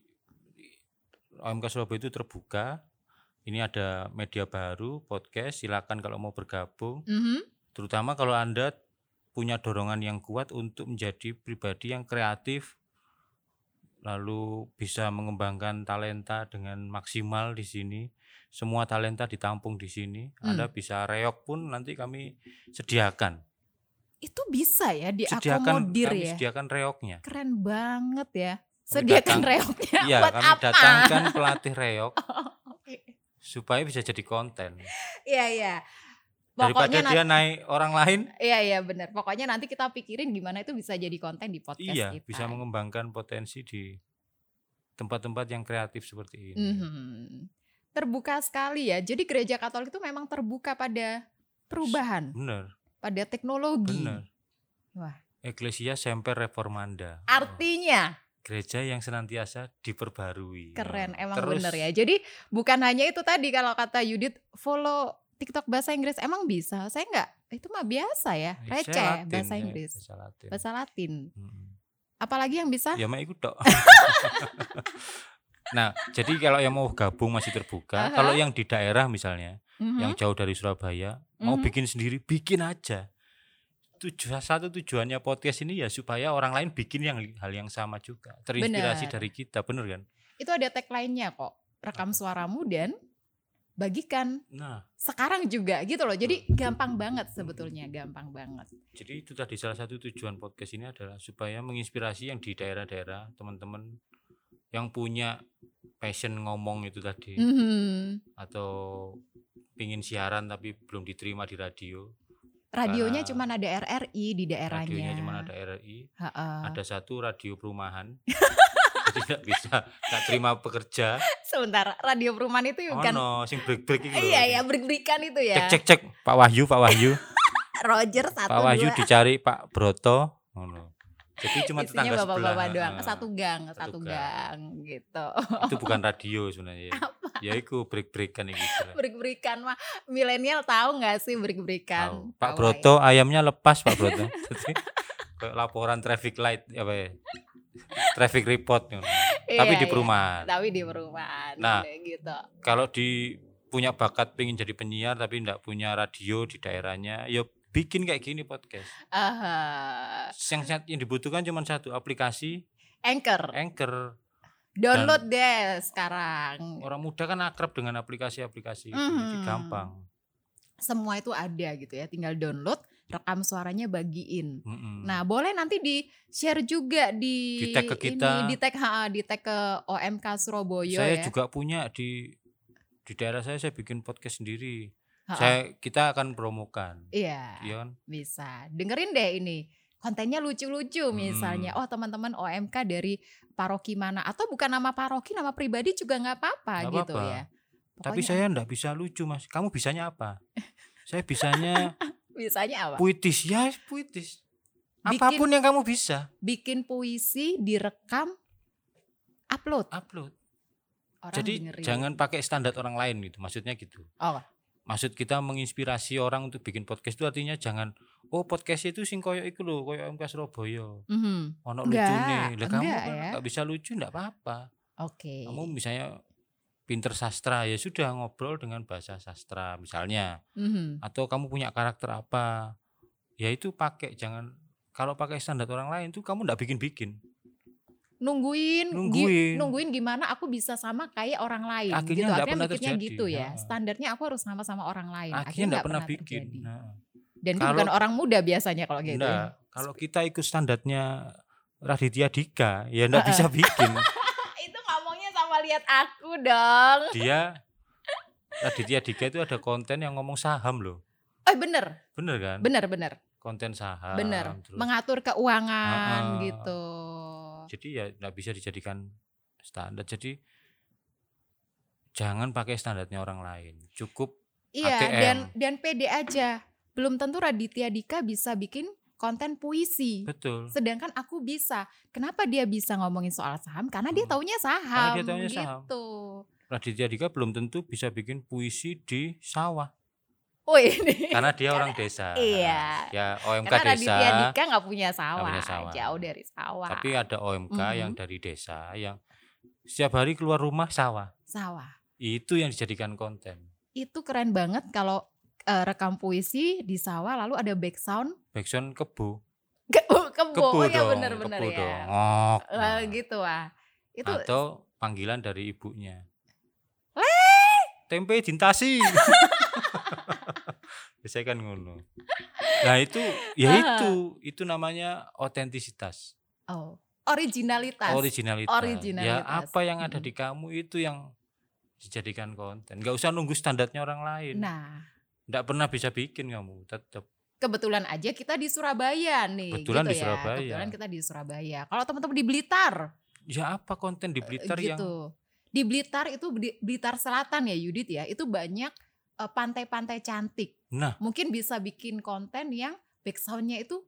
B: OMK Surabaya itu terbuka. Ini ada media baru, podcast. Silakan kalau mau bergabung.
A: Mhm.
B: Terutama kalau anda punya dorongan yang kuat untuk menjadi pribadi yang kreatif, lalu bisa mengembangkan talenta dengan maksimal di sini. Semua talenta ditampung di sini.
A: Hmm.
B: Anda bisa reok pun nanti kami sediakan.
A: Itu bisa ya
B: Sediakan
A: diakomodir
B: kami
A: ya.
B: sediakan reoknya.
A: Keren banget ya. Sediakan
B: datang-
A: reoknya
B: Iya,
A: Nah, buat
B: kami
A: apa?
B: datangkan pelatih reok
A: Oke.
B: supaya bisa jadi konten.
A: Iya iya.
B: Daripada
A: Pokoknya nanti,
B: dia naik orang lain,
A: iya iya benar. Pokoknya nanti kita pikirin gimana itu bisa jadi konten di podcast
B: iya
A: kita.
B: bisa mengembangkan potensi di tempat-tempat yang kreatif seperti ini.
A: Mhm. Terbuka sekali ya. Jadi gereja Katolik itu memang terbuka pada perubahan,
B: Bener,
A: pada teknologi.
B: bener.
A: Wah.
B: Eklesia semper reformanda. Oh,
A: Artinya
B: Iya. Gereja yang senantiasa diperbarui.
A: keren,
B: Nah,
A: emang
B: terus
A: bener ya. Jadi bukan hanya itu tadi kalau kata Yudit follow TikTok bahasa Inggris emang bisa. Saya nggak, itu mah biasa ya,
B: saya
A: receh
B: Latin,
A: bahasa
B: saya
A: Inggris,
B: Bahasa Latin.
A: bahasa Latin.
B: Mm-mm.
A: Apalagi yang bisa?
B: Ya mak ikut dok. nah, jadi kalau yang mau gabung masih terbuka.
A: Aha.
B: Kalau yang di daerah misalnya,
A: Mhm.
B: yang jauh dari Surabaya mau
A: Mhm.
B: bikin sendiri bikin aja tujuan satu tujuannya podcast ini ya supaya orang lain bikin yang hal yang sama juga terinspirasi
A: Bener.
B: dari kita bener kan
A: Itu ada tagline-nya kok. Rekam suaramu dan bagikan
B: nah
A: sekarang juga gitu loh. Jadi gampang banget sebetulnya, gampang banget.
B: jadi itu tadi salah satu tujuan podcast ini adalah supaya menginspirasi yang di daerah-daerah teman-teman yang punya passion ngomong itu tadi
A: Mhm.
B: atau pingin siaran tapi belum diterima di radio
A: Radionya
B: Karena
A: cuma ada RRI di daerahnya.
B: radionya cuma ada RRI
A: Ha-ha.
B: ada satu radio perumahan jadi nggak bisa nggak terima pekerja
A: Sebentar, radio perumahan itu
B: oh
A: bukan.
B: no sing break break itu
A: Iya ya, berik-berikan itu
B: cek
A: ya.
B: cek cek Pak Wahyu Pak Wahyu
A: Roger satu
B: Pak Wahyu
A: dua.
B: dicari Pak Broto ngono Jadi cuma
A: Isinya
B: tetangga sebelah.
A: bapak-bapak doang,
B: Heeh.
A: satu gang, satu,
B: satu Iya.
A: gang. gitu.
B: Itu bukan radio sebenarnya. ya. Ya iku break-breakan iki. istilah.
A: Berik-berikan mah milenial tahu nggak sih
B: Tahu.
A: berik-berikan?
B: Pak
A: Tahu,
B: Broto ayamnya lepas Pak Broto. Jadi, kayak laporan traffic light apa ya? Traffic report. ngono.
A: ya.
B: Tapi
A: Iya,
B: di
A: iya.
B: perumahan.
A: Tapi di perumahan.
B: Nah.
A: gitu.
B: Kalau di punya bakat pengen jadi penyiar tapi ndak punya radio di daerahnya, ya bikin kayak gini podcast.
A: Aha.
B: Yang saat- yang dibutuhkan cuma satu aplikasi Eh,
A: Anchor,
B: Anchor.
A: download deh sekarang.
B: Orang muda kan akrab dengan aplikasi-aplikasi itu, jadi
A: Mhm.
B: gampang.
A: Semua itu ada gitu ya, tinggal download, rekam suaranya bagiin.
B: Mm-mm.
A: Nah, boleh nanti di share juga di
B: Di-tag Hmm. ke kita.
A: ini, di tag ha, di tag ke OMK Surabaya
B: saya
A: ya.
B: juga punya di di daerah saya saya bikin podcast sendiri.
A: Ha, ha.
B: Saya kita akan promokan.
A: Iya,
B: Iya kan?
A: bisa. Dengerin deh ini. Kontennya lucu-lucu misalnya.
B: Hmm.
A: Oh, teman-teman OMK dari paroki mana atau bukan nama paroki, nama pribadi juga nggak apa-apa
B: Nggak
A: gitu
B: apa-apa.
A: ya.
B: Tapi saya ndak bisa lucu, Mas. Kamu bisanya apa? saya bisanya
A: bisanya apa?
B: puitis. Ya, puitis.
A: Bikin-
B: Apapun yang kamu bisa,
A: Bikin puisi, direkam, upload.
B: upload.
A: Orang
B: Jadi
A: dengerin.
B: jangan pakai standar orang lain gitu. Maksudnya gitu.
A: Oh.
B: Maksud kita menginspirasi orang untuk bikin podcast itu artinya jangan oh podcast itu sing koyo iku lho, koyo MK Surabaya.
A: Mhm.
B: Ono
A: Enggak,
B: lucune. Lah kamu
A: enggak
B: kan
A: ya.
B: nggak bisa lucu ndak apa-apa.
A: Oke.
B: kamu misalnya pinter sastra ya sudah ngobrol dengan bahasa sastra misalnya
A: Mhm.
B: atau kamu punya karakter apa ya itu pakai jangan kalau pakai standar orang lain tuh kamu ndak bikin bikin
A: Nungguin, gi-
B: Nungguin.
A: nungguin gimana aku bisa sama kayak orang lain
B: Akhirnya
A: gitu.
B: nggak
A: Akhirnya
B: pernah
A: mikirnya
B: terjadi.
A: gitu ya.
B: Ha-ha.
A: Standarnya aku harus sama sama orang lain.
B: akhirnya ndak
A: nggak
B: pernah bikin
A: terjadi.
B: Nah,
A: Dan itu
B: Kalau-
A: bukan orang muda biasanya kalau gitu.
B: ndak.
A: ya.
B: kalau kita ikut standarnya Raditya Dika ya ndak
A: Heeh.
B: bisa bikin
A: itu ngomongnya sama lihat aku dong.
B: dia Raditya Dika itu ada konten yang ngomong saham loh
A: Oh bener,
B: bener kan
A: bener, bener,
B: konten saham
A: bener.
B: Ah, terus- Ah,
A: Mengatur keuangan
B: Ha-ha.
A: gitu.
B: jadi ya nggak bisa dijadikan standar jadi jangan pakai standarnya orang lain cukup
A: Iya
B: ATM.
A: dan dan pede aja. Belum tentu Raditya Dika bisa bikin konten puisi.
B: betul
A: Sedangkan aku bisa. Kenapa dia bisa ngomongin soal saham? Karena dia
B: Hmm.
A: taunya saham.
B: dia taunya saham.
A: gitu.
B: Raditya Dika belum tentu bisa bikin puisi di sawah
A: Oh ini.
B: karena dia orang desa
A: Iya.
B: ya OMK
A: Karena
B: desa
A: Raditya Dika nggak punya sawah,
B: punya sawah.
A: jauh dari sawah.
B: tapi ada OMK
A: Mhm.
B: yang dari desa yang setiap hari keluar rumah sawah
A: sawah.
B: itu yang dijadikan konten
A: Itu keren banget kalau eh, rekam puisi di sawah lalu ada back sound
B: backsound kebo
A: kebo, kebo.
B: kebo
A: Oh, ya
B: dong
A: benar-benar
B: kebo
A: ya.
B: dong ngok
A: Lah,
B: Nah.
A: gitu ah. Itu
B: atau panggilan dari ibunya. Tempe dintasi. Biasanya kan ngono. Nah itu, ya
A: Ah.
B: itu, itu namanya otentisitas,
A: oh, originalitas.
B: originalitas. Ya
A: Originalitas.
B: apa yang ada
A: Mm-mm.
B: di kamu itu yang dijadikan konten. Gak usah nunggu standarnya orang lain.
A: nah,
B: Nggak pernah bisa bikin kamu. Tetap
A: kebetulan aja kita di Surabaya nih.
B: Kebetulan
A: gitu
B: di
A: ya.
B: Surabaya.
A: Kebetulan kita di Surabaya. Kalau teman-teman di Blitar,
B: ya apa konten di Blitar yang
A: gitu. Di Blitar itu Bli- Blitar Selatan ya Yudit ya. Itu banyak eh, pantai-pantai cantik.
B: Nah.
A: mungkin bisa bikin konten yang backsoundnya itu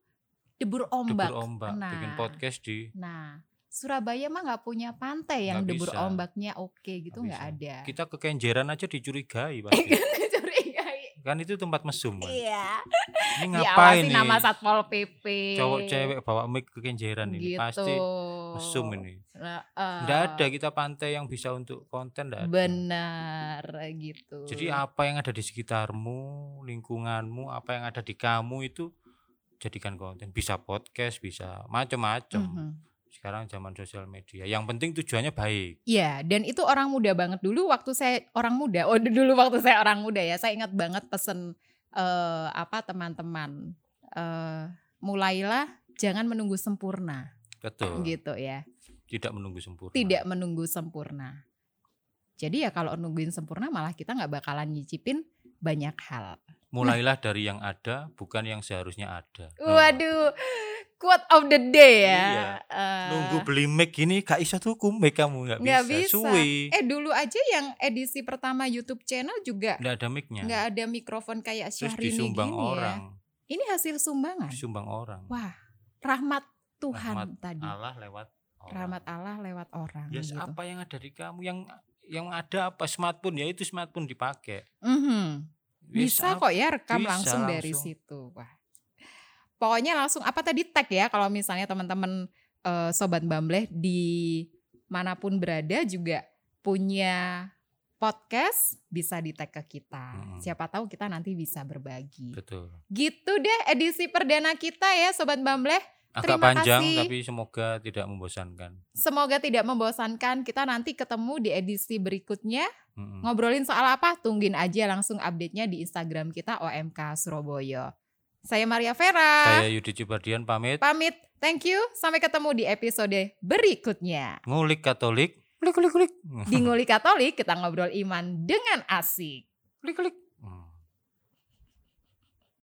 A: debur ombak.
B: debur ombak, bikin
A: Nah.
B: podcast di
A: Nah, Surabaya mah nggak punya pantai yang
B: Nggak
A: debur
B: bisa.
A: ombaknya oke gitu
B: Nggak
A: nggak
B: bisa.
A: ada.
B: kita kekenjeran aja dicurigai pasti.
A: Curigai.
B: kan itu tempat mesum kan.
A: Iya.
B: Ini ngapain
A: Diawasi
B: nih?
A: nama Satpol PP.
B: cowok cewek bawa mic ke kenjeran ini
A: gitu.
B: pasti mesum ini
A: Nah, eh,
B: ndak ada kita pantai yang bisa untuk konten ndak ada
A: Benar gitu.
B: jadi apa yang ada di sekitarmu lingkunganmu apa yang ada di kamu itu jadikan konten bisa podcast bisa macam-macam
A: Mhm.
B: sekarang zaman sosial media yang penting tujuannya baik
A: Iya, dan itu orang muda banget dulu waktu saya orang muda. Oh, dulu waktu saya orang muda ya. Saya ingat banget pesen eh, apa teman-teman. Eh, mulailah jangan menunggu sempurna
B: betul
A: gitu ya.
B: tidak menunggu sempurna
A: Tidak menunggu sempurna. Jadi ya kalau nungguin sempurna malah kita nggak bakalan nyicipin banyak hal.
B: mulailah dari yang ada bukan yang seharusnya ada Nah,
A: Waduh, quote of the day ya.
B: Iya.
A: Eh,
B: nunggu beli mic ini gak iso tuku mic kamu nggak bisa,
A: Nggak bisa.
B: suwi
A: Eh dulu aja yang edisi pertama YouTube channel juga
B: nggak ada micnya
A: nggak ada mikrofon kayak
B: Iya. terus
A: Syahrini
B: disumbang
A: gini ya.
B: orang
A: Ini hasil sumbangan.
B: disumbang orang
A: Wah, rahmat Tuhan
B: Rahmat
A: tadi
B: Allah lewat orang.
A: rahmat Allah lewat orang
B: Yes,
A: gitu.
B: apa yang ada di kamu yang yang ada apa smartphone ya itu smartphone dipakai.
A: Mhm.
B: Yes,
A: Bisa
B: apa-
A: kok ya rekam
B: bisa
A: langsung dari
B: langsung.
A: situ. Wah. Pokoknya langsung apa tadi tag ya kalau misalnya teman-teman eh, sobat Bambleh di manapun berada juga punya podcast bisa di tag ke kita.
B: Mm-mm.
A: Siapa tahu kita nanti bisa berbagi.
B: Betul.
A: Gitu deh edisi perdana kita ya sobat Bambleh.
B: Agak
A: Terima
B: panjang
A: kasih.
B: tapi semoga tidak membosankan.
A: Semoga tidak membosankan. Kita nanti ketemu di edisi berikutnya.
B: Mm-mm.
A: Ngobrolin soal apa? Tungguin aja langsung update-nya di Instagram kita OMK Surabaya. Saya Maria Vera.
B: Saya Yudi Cibardian pamit.
A: Pamit. Thank you. Sampai ketemu di episode berikutnya.
B: Ngulik Mm. Katolik. Kulik kulik kulik.
A: Di Nguli Katolik kita ngobrol iman dengan asik.
B: Kulik kulik.